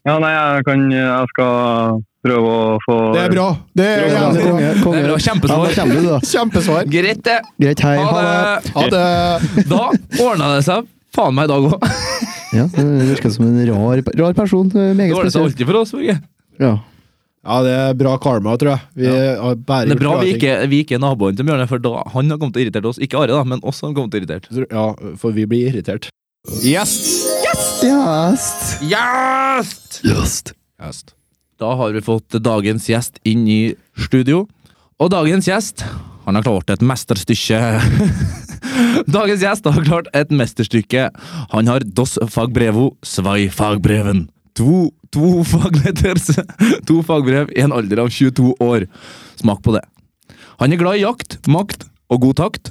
A: Ja, nei, jeg kan Jeg skal prøve å få
C: Det er bra! Det er jævlig bra.
B: Konge.
D: Det er bra,
B: konge. Ja,
D: Kjempesvar.
B: da kommer du, da.
C: Kjempesvar.
D: Greit, det.
B: Greit, hei. Ha det.
D: Ha det.
C: Ha det!
D: Da ordna det seg faen meg i dag òg.
B: Ja, det virker som en rar, rar person. eh,
D: Det
B: Meget
D: ordner seg
B: spesiell.
D: alltid for oss. Børge.
B: Ja.
C: Ja, det er bra karma, tror jeg. Vi har bare
D: Det er
C: gjort
D: bra
C: bra
D: vi
C: ting.
D: ikke, vi ikke er naboen til Bjørne, for da han har kommet til å irritere oss. Ikke Are, da, men oss har han kommet til å irritere.
C: Ja, for vi blir irritert. Gjest!
B: Yes.
D: Yes!
B: Yes.
C: Gjest.
D: Da har vi fått dagens gjest inn i studio. Og dagens gjest han har klart et mesterstykke. <laughs> dagens gjest har klart et mesterstykke. Han har dos fagbrevo, svai fagbreven. To, to <laughs> fagletters. To fagbrev i en alder av 22 år. Smak på det. Han er glad i jakt, makt og god takt.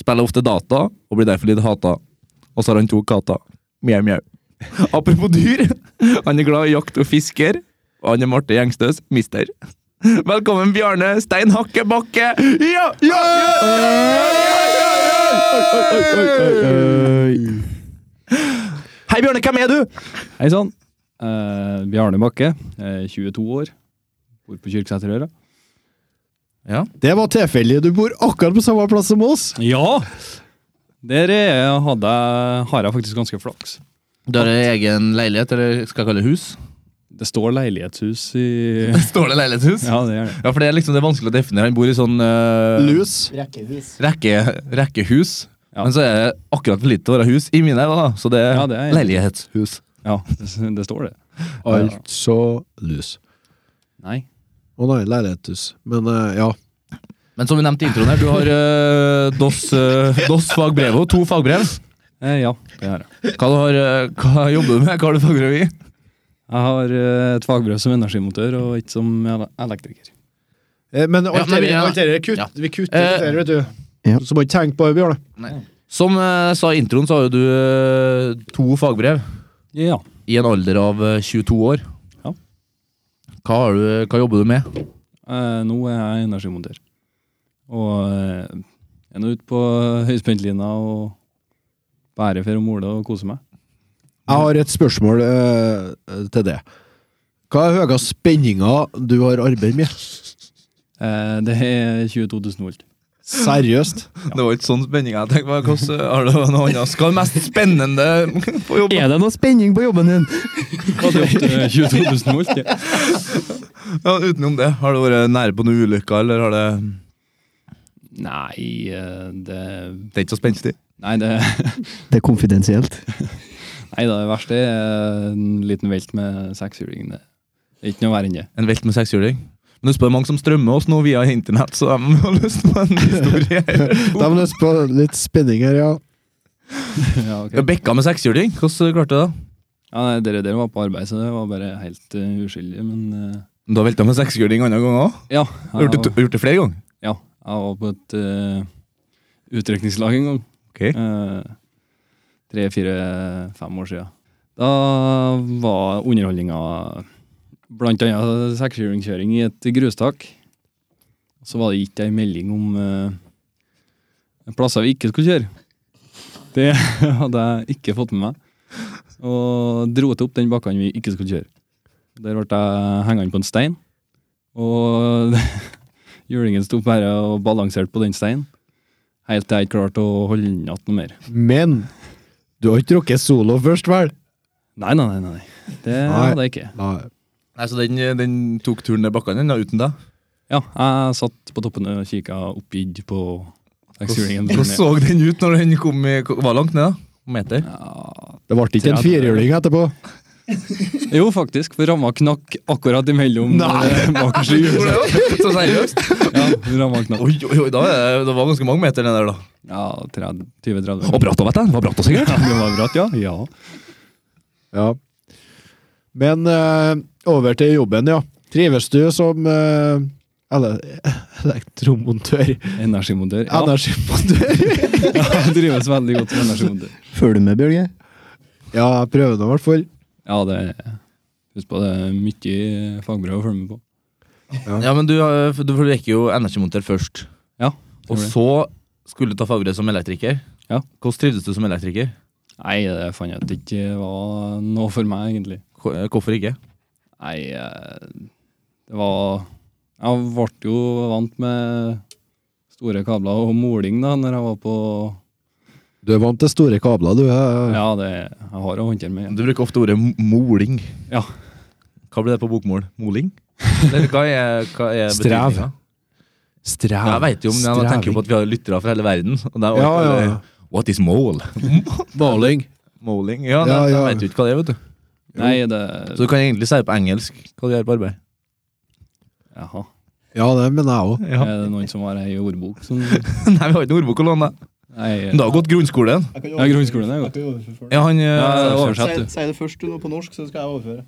D: Spiller ofte data og blir derfor litt hata. Og så har han to katter. Mjau, mjau. Apropos dyr. Han er glad i jakt og fisker. Og han er Marte Gjengstøs mister. Velkommen, Bjarne Stein Hakke Bakke. Ja, ja, ja, ja, ja, ja, ja, ja.
B: Øy.
D: Hei, Bjarne. Hvem er du?
E: Hei sann. Eh, Bjarne Bakke, eh, 22 år. Bor på Kyrksæterøra.
C: Det var tilfeldig. Du bor akkurat på samme plass som oss.
E: Ja! Der er, hadde, jeg- har jeg faktisk ganske flaks.
D: Du har egen leilighet, eller skal jeg kalle det hus?
E: Det står leilighetshus i
D: <laughs> Står det leilighetshus? Ja.
E: <laughs> Ja, det gjør det.
D: for det er liksom det er vanskelig å definere. Han bor i sånn eh,
C: Lus.
D: rekke, rekkehus.
E: Ja.
D: Men så er det akkurat for lite til å være hus i mine øyne, da. Så det er,
E: Ja, det er-
D: leilighetshus.
E: Ja, det, det står det.
C: Altså lus.
E: Nei.
C: Å nei, leilighetshus. Men eh, ja.
D: Men som vi nevnte i introen her, du har eh, DOS, eh, DOS fagbrev og to fagbrev.
E: Eh, ja, det gjør jeg.
D: Hva, du har, eh, hva jobber du med? Hva har du fagbrev i?
E: Jeg har eh, et fagbrev som energimotør og ikke som ele- elektriker.
C: Eh, Men alt
D: Ja, nei,
C: dette
D: vi- ja.
C: alt dette kutt,
D: Ja.
C: vi kutter
D: Eh,
C: det der, vet du.
B: ja.
C: Så må du tenke på det, Bjørne.
D: Som jeg sa i introen, så har jo du eh, to fagbrev
E: Ja.
D: i en alder av eh, 22 år.
E: Ja.
D: Hva, har du, hva jobber du med?
E: Eh, nå er jeg energimotør. Og eh, er nå ute på høyspentlinja og bærer for Ole og koser meg.
C: Jeg har et spørsmål eh, til det. Hva er høyest spenninga du har arbeidet med?
E: Eh, det er 22 000 volt.
C: <laughs> Seriøst?
D: Det var ikke sånn spenning jeg tenkte på. Hvordan har du noe annet? Hva er det mest spennende på jobb?
B: Er det noe spenning på jobben din?
E: Hva er <laughs> det, eh, 22 000 volt? Ja.
D: Ja, utenom det, har du vært nære på noen ulykker, eller har det
E: Nei, eh, det
D: Det er ikke så spenstig.
E: Nei, det,
B: Det er konfidensielt.
E: nei da, det verste er en liten velt med sekshjuling. Det er ikke noe verre enn det.
D: En velt med sekshjuling. Men husk på det er mange som strømmer oss nå via internett, så de har lyst på en <laughs> historie.
C: Da må du lyst på litt spenning her, ja.
E: <laughs> Ja, ok.
D: Ja, Bekka med sekshjuling, hvordan klarte du det?
E: ja, nei, Dere der var på arbeid, så det var bare helt eh, uskyldig. Men eh,
D: Du har velta med sekshjuling andre ganger òg?
E: Ja,
D: Har
E: jeg,
D: du gjort det- gjort det flere ganger?
E: ja, jeg var på et uh, utrykningslag en gang.
D: Ok.
E: Eh, Tre, fire, fem år siden. Da var underholdninga blant annet sekshjulingkjøring i et grustak. Så var det gitt ei melding om eh, plasser vi ikke skulle kjøre. Det <laughs> hadde jeg ikke fått med meg. Og dro til opp den bakken vi ikke skulle kjøre. Der ble jeg hengende på en stein. Og <laughs> hjulingen sto bare og balanserte på den steinen. Helt til jeg ikke klarte å holde den igjen noe mer.
C: Men du har ikke drukket solo først, vel?
E: Nei, nei, nei. nei. Det
C: Nei.
E: hadde jeg ikke.
C: Nei.
D: Nei, Så den, eh, den tok turen ned bakkene den da, uten deg?
E: Ja, jeg satt på toppen og kikka oppgitt på
D: Hvordan
E: sekshjulingen.
D: hvordan så den ut når den kom i, var langt ned? da? Meter?
E: Ja.
C: Det ble ikke en firehjuling etterpå.
E: Jo, faktisk, for ramma knakk akkurat imellom eh, bakerste hjul.
D: <laughs> Så seriøst?
E: Ja, ramma knakk.
D: Oi, oi, oi, da er det, det var ganske mange meter ned der, da.
E: Ja, 30 20-30.
D: bratt vet jeg. Det var bratt og sikkert.
E: Ja, det var bratt, ja. ja.
C: Ja. Men eh, over til jobben, ja. Trives du som eh, ele <laughs> elektromontør?
E: Energimontør. Ja,
C: Energimontør?
E: <laughs> jeg drives veldig godt som energimontør.
B: Følger du med, Bjørge?
C: ja, jeg prøver nå i hvert fall.
E: Ja, det Husk på, det er mye fagbrev å følge med på.
D: Ja, men du, eh, for- du for du gikk jo energimonter først.
E: Ja,
D: Og så skulle du ta fagbrev som elektriker.
E: Ja.
D: Hvordan trivdes du som elektriker?
E: Nei, det fant jeg ut ikke var noe for meg, egentlig.
D: Hvor- eh, Hvorfor ikke?
E: Nei, eh, det var Jeg ble jo vant med store kabler og måling da når jeg var på
C: Du er vant til store kabler, du. eh.
E: Ja, det jeg har å håndtere med.
D: Du bruker ofte ordet m- moling.
E: Ja.
D: Hva blir det på bokmål? Moling? Eller hva er, hva er
C: Strev.
D: betydningen?
C: Strev.
D: Jeg vet jo, men jeg tenker jo på at vi har lyttere fra hele verden. Og det er,
C: Ja, ja, ja.
D: What is mole?
C: Måling.
D: Moling? Ja,
C: Ja,
D: nei,
C: ja.
D: Jeg vet jo ikke hva det er, vet du.
E: Nei, det
D: Så du kan egentlig si det på engelsk hva du gjør på arbeid.
E: Jaha.
C: Ja, det mener jeg òg.
D: Ja.
E: Er det noen som har ei ordbok som
D: <laughs>
E: eh,
D: Nei, vi har ikke noe ordbok å låne.
E: Nei,
D: Men du har gått grunnskolen?
E: ja, grunnskolen er godt.
D: Ja, han eh,
E: Ja, over- oversett,
B: Si
E: du. Mm.
B: si det først du nå på norsk, så skal jeg overføre.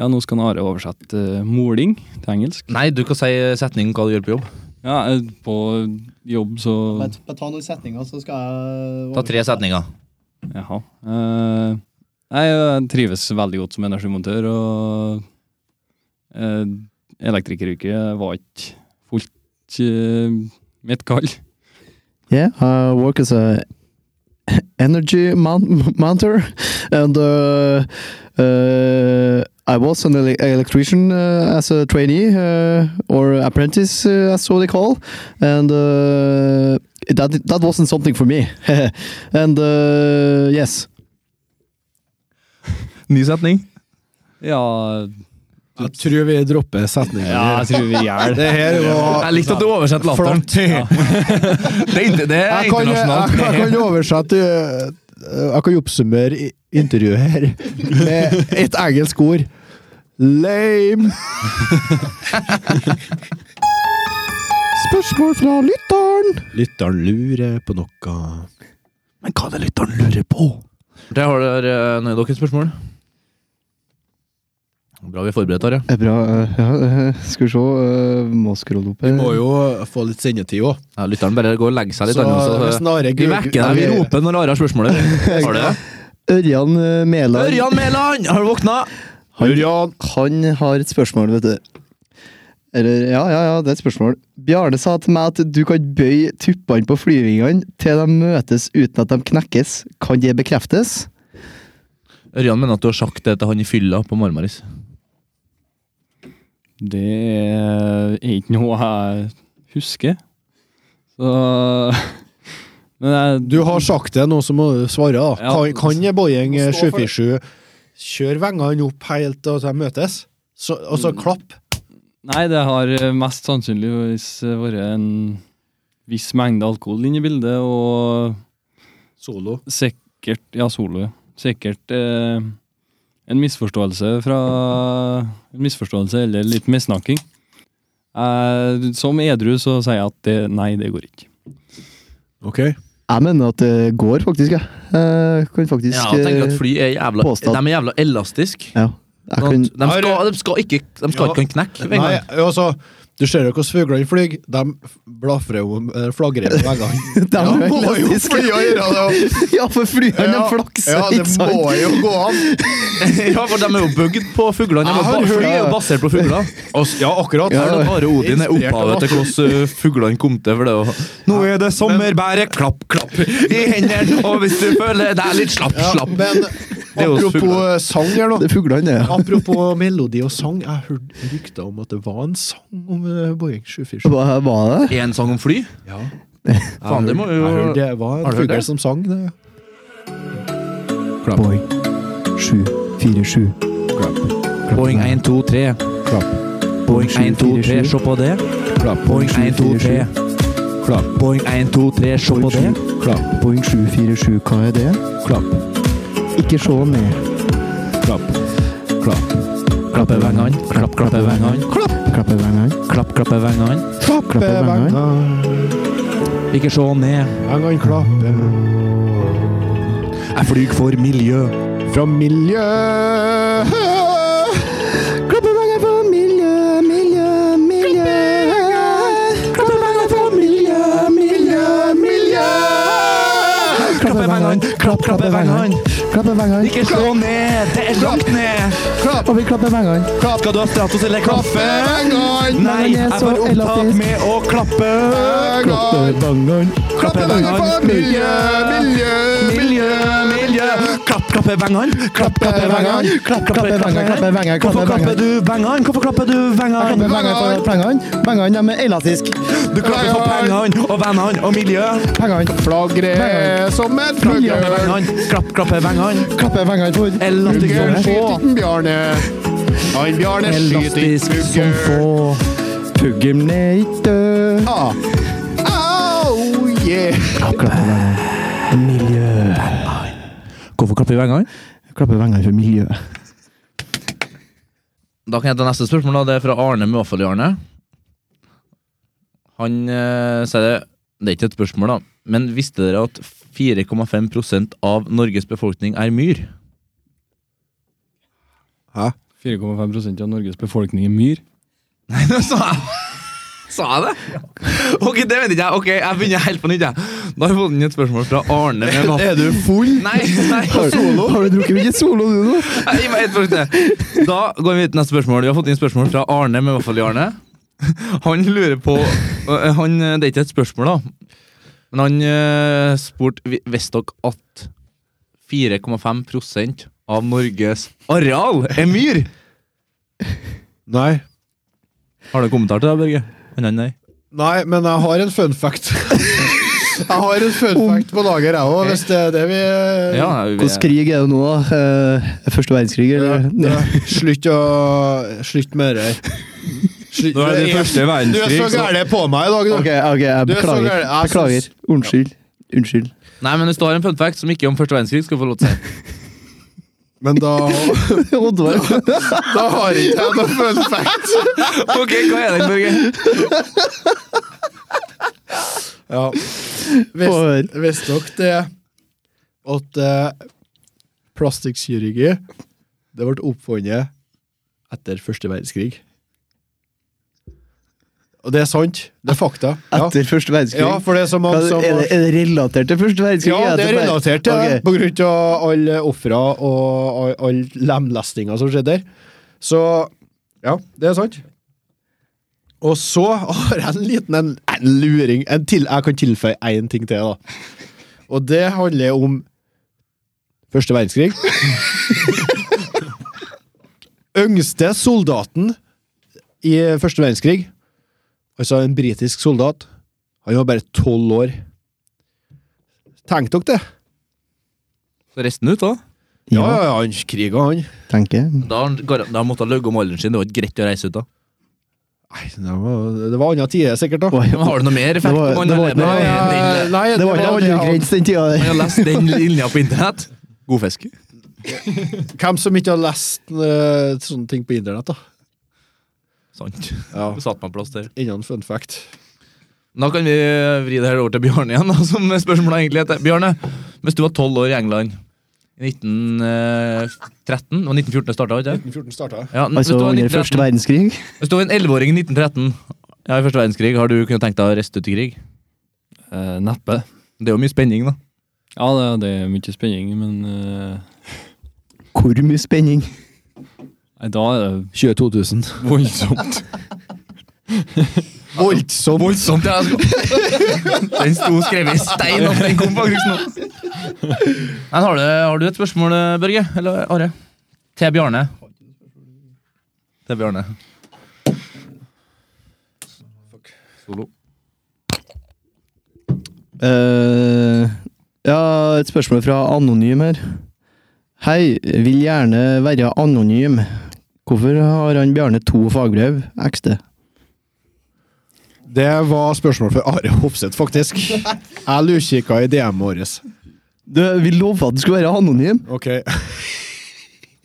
E: Ja, nå skal Are oversette eh, moling til engelsk.
D: Nei, du kan si setningen hva du gjør på jobb.
E: Ja, eh, på jobb så
B: Bare t- bare ta noen setninger, så skal jeg
D: Ta tre setninger.
E: Jaha. Eh, nei, jeg trives veldig godt som energimontør, og uh, elektrikeryrket var ikke fullt eh, mitt kall.
B: Yeah, I work as a <laughs> energy mount- mounter, and uh, uh, I was an ele- electrician uh, as a trainee uh, or apprentice, uh, as so they call, and uh, that that wasn't something for me. <laughs> and uh, yes,
D: Ny setning.
E: Ja,
C: Jeg tror vi dropper setningen.
E: ja jeg tror vi gjør det.
C: Det her var
D: Jeg likte at du oversatte latteren. <laughs> Ja. det er, inte- det er
C: Jeg kan, jeg,
D: internasjonalt. <laughs>
C: jeg kan oversette eh, Jeg kan oppsummere i- intervjuet her med et engelsk ord. Lame. Spørsmål fra lytteren. Lytteren lurer på noe. Men hva er det lytteren lurer på?
D: Der har dere eh, noen av dere spørsmål. Bra vi er forberedt her, ja.
B: Eh, bra. eh, ja, eh, <laughs> skal vi se, eh, må scrolle opp her.
C: Må jo få litt sendetid òg.
D: ja. Lytteren bare går og legger seg litt.
C: Så
D: han, så- eh,
C: hvis Nare
D: vi vekker deg, vi roper når Are har <laughs> spørsmålet. Har du det?
B: Ørjan eh, Mæland.
D: Ørjan Mæland, har du våkna?
B: Han, han har et spørsmål, vet du. Eller, ja, ja, ja, det er et spørsmål. Bjarne sa til meg at du kan bøye tuppene på flyvingene til de møtes uten at de knekkes. Kan det bekreftes?
D: Ørjan mener at du har sagt det til han i fylla på Marmaris.
E: <laughs> Det er ikke noe jeg husker. Så <laughs> Men jeg
C: Du har sagt det, nå så må du svare. da.
E: Ja.
C: Kan, kan en Boeing
B: Må stå for
C: 747 kjøre vengene opp helt til de møtes? Så, og så klapp?
E: Nei, det har mest sannsynligvis vært en viss mengde alkohol inne i bildet, og
C: Solo.
E: Sikkert, ja, solo, ja. Sikkert eh, en misforståelse fra En misforståelse eller litt missnakking. Eh, som edru så sier jeg at det, nei, det går ikke.
C: Ok.
B: Jeg mener at det går, faktisk. Jeg, jeg Eh, kan faktisk
D: Ja, jeg tenker at
B: eh,
D: fly er jævla
B: Påstand.
D: De er jævla elastiske.
B: ja. Jeg
D: Sånn
B: kan,
D: at De skal, de skal ikke de skal
C: Ja.
D: ikke kunne knekke
C: Nei,
D: vingene.
C: altså, du ser jo hvordan fuglene flyr. De blafrer jo eh, flagrer med veggene.
B: De er jo
C: må jo
B: elastiske.
C: fly og gjøre det.
B: <laughs> ja, for flyene
C: Ja,
B: ja, flakser,
C: ja, det
B: ikke sant?
C: må jo gå an.
D: <laughs> ja, for de er jo bygd på fuglene. De
C: Jeg
D: er
C: har
D: bare-
C: hørt-
D: Fly er jo basert på fugler.
C: Og s- Ja, akkurat.
D: Ja, det er bare Odin er opphavet til hvordan uh, fuglene kom til. For det å- Nå er det sommerbæret, klapp, klapp i hendene, og hvis du føler deg litt slapp,
C: Ja,
D: slapp.
C: men
D: er jo
C: apropos
D: fugler.
C: eh, sang her nå.
B: Det er fuglene, ja.
C: Apropos melodi og sang, jeg hørte rykter om at det var en sang om eh, Boeing 747.
B: Hva var det?
D: En sang om fly?
C: Ja.
D: Faen, det må jo
C: Jeg hørte det var
D: Har du
C: en
D: hørt
C: fugl
D: det?
C: som sang det.
B: Boy. 7, 4, 7.
D: Boing 1, 2, 3.
C: Klapp.
D: Boing 1, 2, 3, se på det.
C: Klapp.
D: Boing 1, 2, 3.
C: Klapp.
D: Boing 1, 2, 3, se på det.
C: Klapp.
B: Boeing 747, hva er det?
C: Klapp.
B: Ikke se ned.
C: Klapp. Klapp.
D: Klappe vengene, klapp, klappe vengene. Klapp,
B: Klappe vengene.
D: klapp, klappe vengene.
B: Klappe vengene.
D: Ikke se ned.
C: Vengene klapper
D: Jeg flyr for miljø.
C: fra miljø.
B: Klappe vengene for miljø, miljø, miljø. Klappe vengene for miljø, miljø, miljø.
D: Klappe vengene, klapp, klappe vengene.
B: Klappe vengene.
D: Ikke se ned, det er langt ned.
C: Klapp.
B: Og vi klapper vengene.
D: Skal du ha Stratos eller kaffe?
C: Vengene.
D: Nei, jeg
B: så
D: var opptatt
B: elastisk.
D: med å klappe.
C: Vengene.
B: vengene.
D: Klappe vengene for miljø,
C: miljø,
D: Miljø, miljø. Klapp, klappe vengene. Klapp, klappe vengene. Klapp, klappe
B: vengene, klappe
D: vengene.
B: vengene,
D: Hvorfor
B: klappe
D: klapper du vengene? Hvorfor klapper du vengene?
B: Vengene for pengene. Vengene, de er elastiske.
D: Du klapper for pengene og vennene og miljø.
B: Pengene.
C: Flagrer som en
D: Klappe
C: fugl.
D: vengene. Klapp, klappe vengene.
B: Klappe vengene for
D: Elastisk
C: Bjørn
D: som
C: skyter
D: få.
C: ikke Bjarne. Han Bjarne skyter
D: Elastisk
C: ikke
D: som
C: fugl.
D: få.
B: Puggelen er ikke død.
C: Ah. Au, yeah.
B: Miljø.
D: Hvorfor klapper vi vengene?
B: Klappe vengene for miljø.
D: Da kan jeg ta neste spørsmål. da. Det er fra Arne Muafali Arne. Han eh, sier det Det er ikke et spørsmål, da. Men visste dere at 4,5 av Norges befolkning er <laughs> myr?
E: 4,5 av Norges befolkning er myr.
D: Sa jeg Sa jeg det? Ok, det vet ikke jeg. Ok, Jeg begynner helt på nytt. jeg. Da har vi fått inn et spørsmål fra Arne. Med vaff-
C: Er du full?
D: <laughs> nei, nei,
B: Solo? Har du drukket mye solo, du nå?
D: nei, gi meg ett spørsmål til. Da går vi til neste spørsmål. Vi har fått inn spørsmål fra Arne med vaffel i Arne. Han lurer på øh, han, øh, Det er ikke et spørsmål, da. Men han øh, spurte vi- Visste dere at 4,5 av Norges areal er myr?
C: Nei.
D: Har du en kommentar til det, Børge? Nei, nei.
C: Nei, men jeg har en fun fact. <laughs> Jeg har en fun fact på lager, jeg òg, hvis det er det vi eh,
D: Ja, vi-
B: Hvordan krig er det nå, da? Eh, Første verdenskrig, eller?
C: Ja. Slutt å Slutt med det her. Slutt-
E: Da er det
C: Du Du
E: første
C: er så
E: verdenskrig, så-
C: gæren på meg i dag, du.
B: Ok, ok, jeg
C: Du er så
B: beklager.
C: gæren. Jeg
B: Beklager.
C: syns-
B: Unnskyld.
C: <laughs>
B: Unnskyld.
D: Nei, men hvis du har en fun fact som ikke er om første verdenskrig, skal du få lov til å si det.
C: Men da,
B: Oddvar.
C: da har ikke jeg noe fun fact.
D: Ok, hva er det, Børge?
C: Ja.
B: Få høre.
C: Visste visste dere det at eh, plastikkirurgi det ble oppfunnet etter første verdenskrig? Og det er sant. Det er fakta.
B: <laughs>
C: Ja,
B: Etter første verdenskrig?
C: ja for det er så mange
B: Hva-
C: som
B: er, det, er det relatert til første verdenskrig?
C: Ja, det er
B: bare-
C: relatert til det.
B: Ok.
C: På grunn av alle ofra og all- all lemlestinga som skjedde der. Så ja, det er sant. Og så har jeg en liten en, en luring en til, Jeg kan tilføye én ting til, da. Og det handler om første <laughs> verdenskrig. Yngste soldaten i første verdenskrig, altså en britisk soldat, han var bare tolv år. Tenk dere det.
D: Så resten ut, da?
C: Ja, ja, ja, han kriga, han.
B: Tenker jeg.
D: Da, har han gar- da måtte han løye om alderen sin. Det var ikke greit å reise ut da.
C: Nei, det var, det var andre tider, sikkert, da.
B: Oi,
D: Men har du noe mer effekt
B: Det var-
D: på
B: det var-
D: han?
B: nei,
D: Han
C: nei,
B: Det var ikke
C: det-
B: aldergrense den tida der.
D: har lest den linja på internett. God fisk.
C: Hvem som ikke har lest eh, sånne ting på internett, da?
D: Sant.
C: Ja,
D: Satt meg plass der.
C: Innen fun fact.
D: Da kan vi vri det her over til Bjarne igjen, da, som spørsmålet egentlig heter. Bjarne, hvis du var tolv år i England i 1913? Det var 1914 det starta, ikke sant?
C: 1914 starta.
D: Ja, n-
B: Altså
D: hvis du var
B: under
D: 1913
B: første verdenskrig.
D: Hvis du var en 11-åring i 1913 ja, i første verdenskrig, har du kunnet tenkt deg å reiste ut i krig?
E: Eh, neppe.
D: Det er jo mye spenning, da.
E: Ja, det, det er mye spenning, men eh,
B: Hvor mye spenning?
E: nei, da er det
C: 22 000.
E: <laughs> voldsomt.
C: Voldsomt!
D: Voldsomt, ja! Den sto skrevet i stein at den kom faktisk nå. Men har, du, har du et spørsmål, Børge? Eller Are? Til Bjarne. Til Bjarne. Solo.
B: Eh, ja, et spørsmål fra Anonym her. Hei, vil gjerne være anonym. Hvorfor har han Bjarne to fagbrev? XD.
C: Det var spørsmål for Are Hofseth,
B: <laughs>
C: faktisk. Jeg lurkikka i DM-et vårt.
B: Du, vi lova at du skulle være anonym.
C: Ok.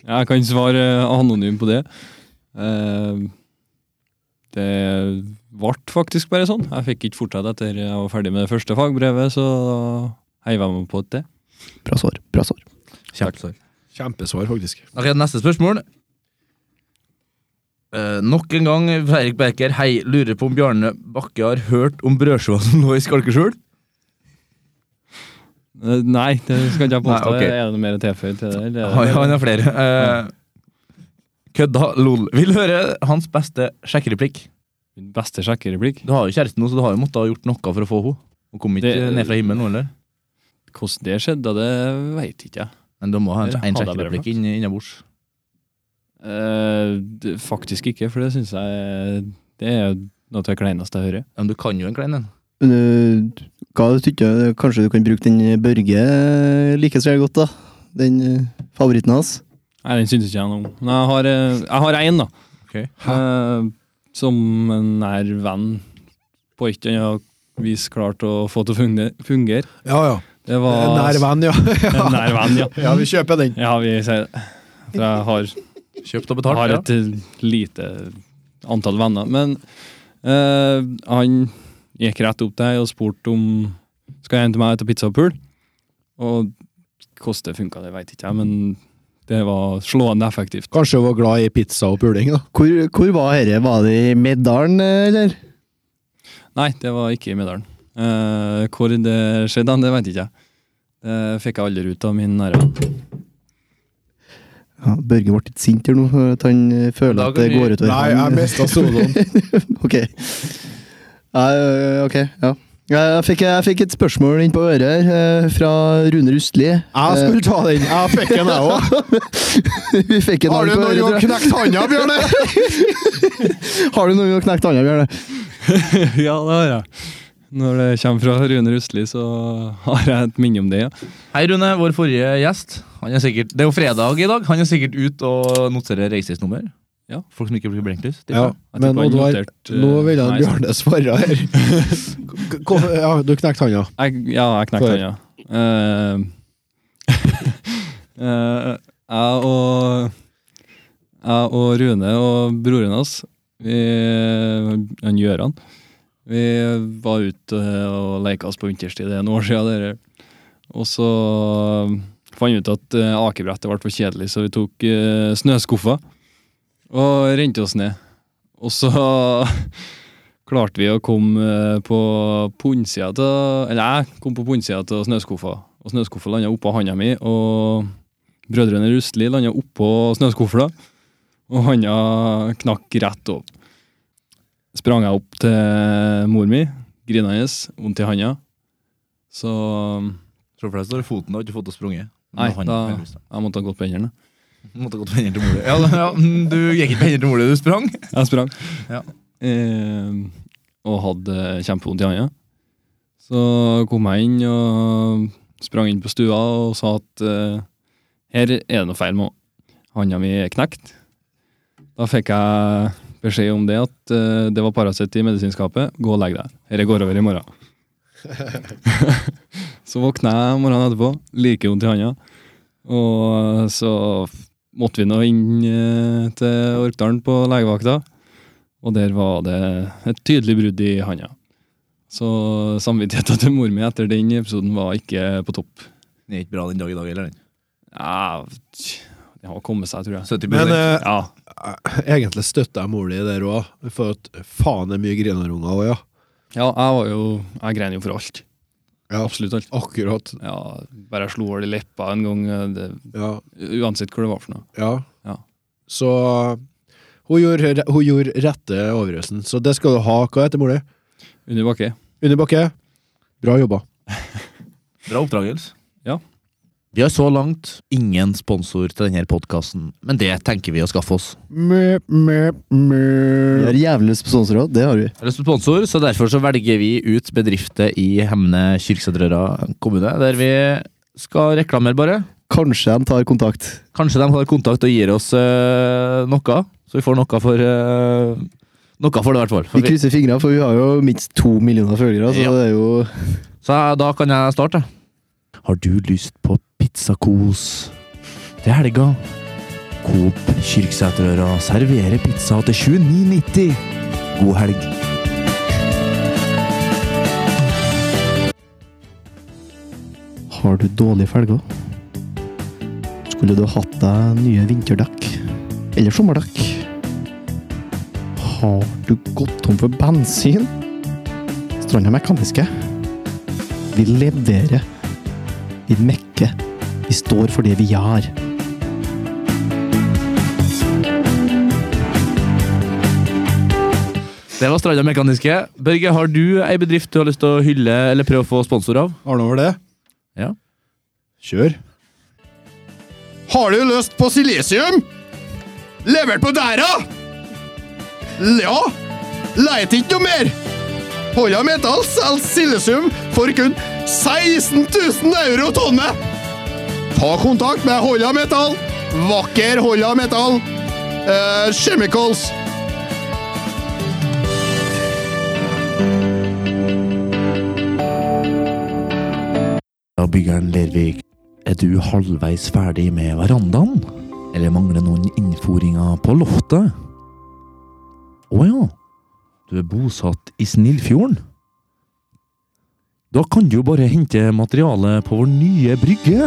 E: Jeg kan svare anonym på det. Eh, det ble faktisk bare sånn. Jeg fikk ikke fortsette etter jeg var ferdig med det første fagbrevet, så da heiv jeg meg på et det.
B: Bra svar. Bra svar.
D: Kjempesvar.
C: Kjempesvar, faktisk.
D: Ok, neste spørsmål. Eh, nok en gang, Fredrik Berker, hei, lurer på om Bjarne Bakke har hørt om brødskiva som lå i Skalkeskjul?
E: Eh, Nei, det skal ikke jeg påstå.
D: Nei, ok.
E: Er det mer tilføyd til det? Eller?
D: Han, han har flere. Eh, kødda, lol. Vil høre hans beste sjekkereplikk.
E: Min beste sjekkereplikk?
D: Du har jo kjæreste nå, så du har jo måttet ha gjort noe for å få henne. Hun kom ikke
E: Det-
D: ned fra himmelen nå, eller?
E: Hvordan det skjedde, det veit ikke jeg.
D: Men du må ha en,
E: Det
D: en
E: hadde jeg bare
D: sjekkereplikk inn- innabords.
E: Eh, det- faktisk ikke, for det syns jeg Det er noe av det kleineste jeg hører.
D: Ja, Men du kan jo en klein en.
B: Men, eh, Hva du tykker, kanskje du kan bruke den eh, Børge eh, liker så jævlig godt, da? Den eh, favoritten hans?
E: Nei, den syns ikke jeg noe om. Men jeg har, eh, jeg har én, da.
D: Ok.
E: Eh, som en nær venn på et eller annet vis klarte å få til å funge- fungere.
C: Ja, ja.
E: Det var
C: Eh, Nær venn, ja.
E: <laughs> En nær venn, ja.
C: <laughs> Ja, vi kjøper den.
E: Ja, vi sier det. For jeg har
D: Kjøpt og
E: Jeg
D: betalt.
E: har
D: ja.
E: et eh, lite antall venner. Men eh, han gikk rett opp til meg og spurte om skal jeg hente meg etter pizza og pool. Og hvordan det funka, det veit ikke jeg, men det var slående effektivt.
C: Kanskje hun var glad i pizza og puling, da.
B: Hvor, hvor var dette? Var det i Meddalen, eh, eller?
E: Nei, det var ikke i Medalen. Eh, hvor det skjedde, det veit ikke jeg. Det fikk jeg aldri ut av min nære venn.
B: Ja, Børge ble litt sint her nå, for at han eh, føler
D: Da
B: at
D: kan
B: det
D: vi-
B: går utover
C: Nei,
B: han.
C: jeg mista soloen.
B: <laughs> Ok. Nei, ø, ok, ja. Jeg fikk, jeg fikk et spørsmål inn på øret her, eh, fra Rune Rustli.
C: <laughs> Jeg skulle ta den. Jeg fikk den, jeg òg.
B: <laughs> Vi fikk en
C: Har
B: hånd
C: du
B: på
C: noen
B: øret,
C: gang
B: tror jeg.
C: knekt handa, Bjørne?
B: Har du noen gang knekt hånda, Bjørne?
E: <laughs> ja, det har jeg. Når det kommer fra Rune Rustli, så har jeg et minne om det, ja.
D: Hei, Rune, vår forrige gjest. Han er sikkert, det er jo fredag i dag. Han er sikkert ute og noterer reisesnummer.
E: Ja.
D: Folk som ikke blir blinklys. tipper
C: Ja,
D: jeg.
E: Jeg
C: men
E: tipper han
C: Oddvar,
E: noterte,
C: nå
E: eh,
C: vil han
E: nei,
C: Bjørne svare
E: <laughs>
C: her. K- hvorfor- Ja, du knekte handa.
E: Jeg, ja, jeg knekte den, ja. Eh, <laughs> eh, jeg og Jeg og Rune og broren hans, vi, han Gjøran, vi var ute og leka oss på vinterstid. Det er noen år siden. dere. Og så eh, fant vi ut at eh, akebrettet ble for kjedelig, så vi tok eh, snøskuffa og rente oss ned. Og så klarte vi å komme eh, på pundsida til Eller jeg kom på pundsida til snøskuffa, og snøskuffa landa oppå handa mi, og brødrene Rustli landa oppå snøskufla, og handa knakk rett opp. Sprang jeg opp til mor mi, grinende, vondt i handa. Så
D: Tror for deg står i foten, da. Ikke fått å sprunget. Men
E: Nei,
D: han-
E: da-
D: han-
E: jeg måtte ha gått på hendene.
D: Måtte gått på hendene til mor di. Ja, da- ja, mm, du gikk ikke på hendene til mor di, du sprang.
E: Jeg sprang.
D: Ja.
E: Eh, og hadde kjempevondt i handa. Så kom jeg inn og sprang inn på stua og sa at eh, her er det noe feil med henne. Handa mi er knekt. Da fikk jeg beskjed om det, at eh, det var Paracet i medisinskapet. Gå og legg deg. Dette går over i morgen. <laughs> så våkna jeg morgenen etterpå, like vondt i handa. Og så måtte vi nå inn eh, til Orkdalen på legevakta. Og der var det et tydelig brudd i handa. Så samvittigheten til mor mi etter den episoden var ikke på topp.
D: Det er ikke bra den dag i dag heller. den.
E: Ja, tj, det har kommet seg, tror jeg.
D: 70
C: Men eh,
E: Ja,
C: egentlig støtter jeg mor di der òg, for at faen det er mye grinarunger òg, ja.
E: ja jeg var jo Jeg grein jo for alt.
C: Ja.
E: Absolutt alt.
C: Akkurat.
E: Ja, bare jeg slo hull i leppa en gang, eh, det,
C: Ja.
E: uansett hva det var for noe.
C: ja.
E: Ja.
C: Så hun gjorde, hun gjorde rette avgjørelsen, så det skal du ha. Hva heter mor di?
E: Under bakke.
C: Unni Bakke, bra jobba.
D: Bra oppdragelse.
E: Ja.
D: Vi har så langt ingen sponsor til denne podkasten, men det tenker vi å skaffe oss.
C: Mø, mø,
B: Vi
C: mø.
B: har jævlig sponsorer òg, det har vi.
D: Det er sponsor, så derfor så velger vi ut bedrifter i Hemne Kyrksæterøra kommune, der vi skal reklamere, bare.
B: Kanskje de tar kontakt.
D: Kanskje de har kontakt og gir oss eh, noe, så vi får noe for eh, Noe for det, i hvert fall. For
B: Vi
D: vi-
B: krysser fingrene, for vi har jo minst to millioner følgere. Så
D: Ja.
B: det er jo
D: Så jeg- da kan jeg starte. Har du lyst på pizzakos til helga? Coop Kyrksæterøra serverer pizza til 29,90. God helg.
B: Har du dårlige felger? Skulle du hatt deg nye vinterdekk? Eller sommerdekk? Har du gått tom for bensin? Stranda Mekaniske. Vi leverer. Vi mekker. Vi står for det vi gjør.
D: Det var Stranda Mekaniske. Børge, har du ei bedrift du har lyst til å hylle eller prøve å få sponsor av?
C: Har du over det?
D: Ja.
C: Kjør. Har du lyst på silisium? Levert på dæra? L- Ja. Leit ikke noe mer. Holla Metal selger silisium for kun 16 000 euro tonnet. Ta kontakt med Holla Metal. Vakker Holla Metal. Eh, chemicals.
D: Ja, byggeren Lervik, er du halvveis ferdig med verandaen? Eller mangler noen innforinger på loftet? Å ja, du er bosatt i Snillfjorden? Da kan du jo bare hente materialet på vår nye brygge.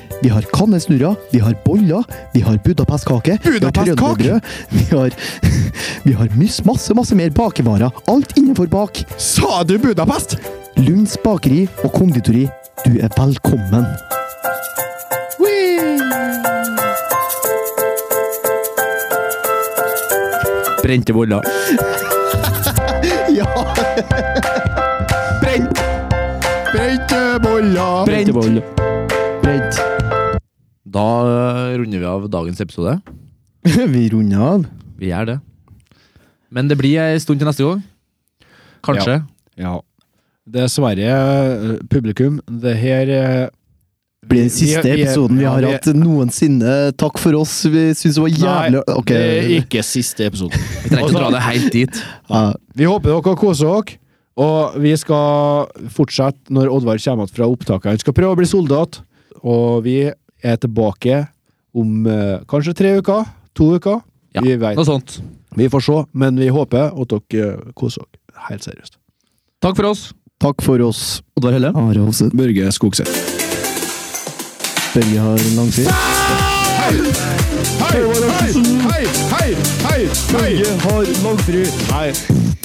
B: Vi har kannesnurrer, vi har boller, vi har budapestkake, vi har
C: Budapestkake?
B: trønderbrød, vi har, <laughs> vi har mys- masse, masse mer bakevarer. Alt innenfor bak.
C: Sa du Budapest?
B: Lunds bakeri og konditori, du er velkommen.
D: Brente boller.
B: Ja!
C: Brent. Brent eh, boller.
D: Brent.
B: Brent.
D: Da eh, runder vi av dagens episode.
B: <laughs> Vi runder av.
D: Vi gjør det. Men det blir ei stund til neste gang. Kanskje.
C: Ja. Dessverre, eh, publikum. Det her eh,
B: blir
C: vi-
B: den siste
C: vi- vi-
B: episoden vi
C: ja,
B: har
C: vi-
B: hatt noensinne. Takk for oss. Vi syns det var jævlig
C: Nei,
B: Ok.
C: det er ikke siste episode.
D: Vi trenger ikke å dra det helt dit.
B: Ja.
C: Vi håper dere koser dere. Og vi skal fortsette når Oddvar kommer tilbake fra opptaket. Han skal prøve å bli soldat. Og vi er tilbake om eh, kanskje tre uker. To uker.
D: Ja.
C: Vi vet.
D: Noe sånt.
C: Vi får se, men vi håper at dere eh, koser dere. Helt seriøst.
D: Takk for oss.
B: Takk for oss.
D: Oddvar Helle.
B: Are Hovseth.
C: Børge Skogseth.
B: Børge har en lang tid.
C: Hei, hei, hei, hei, hei! Børge har langfri. Nei.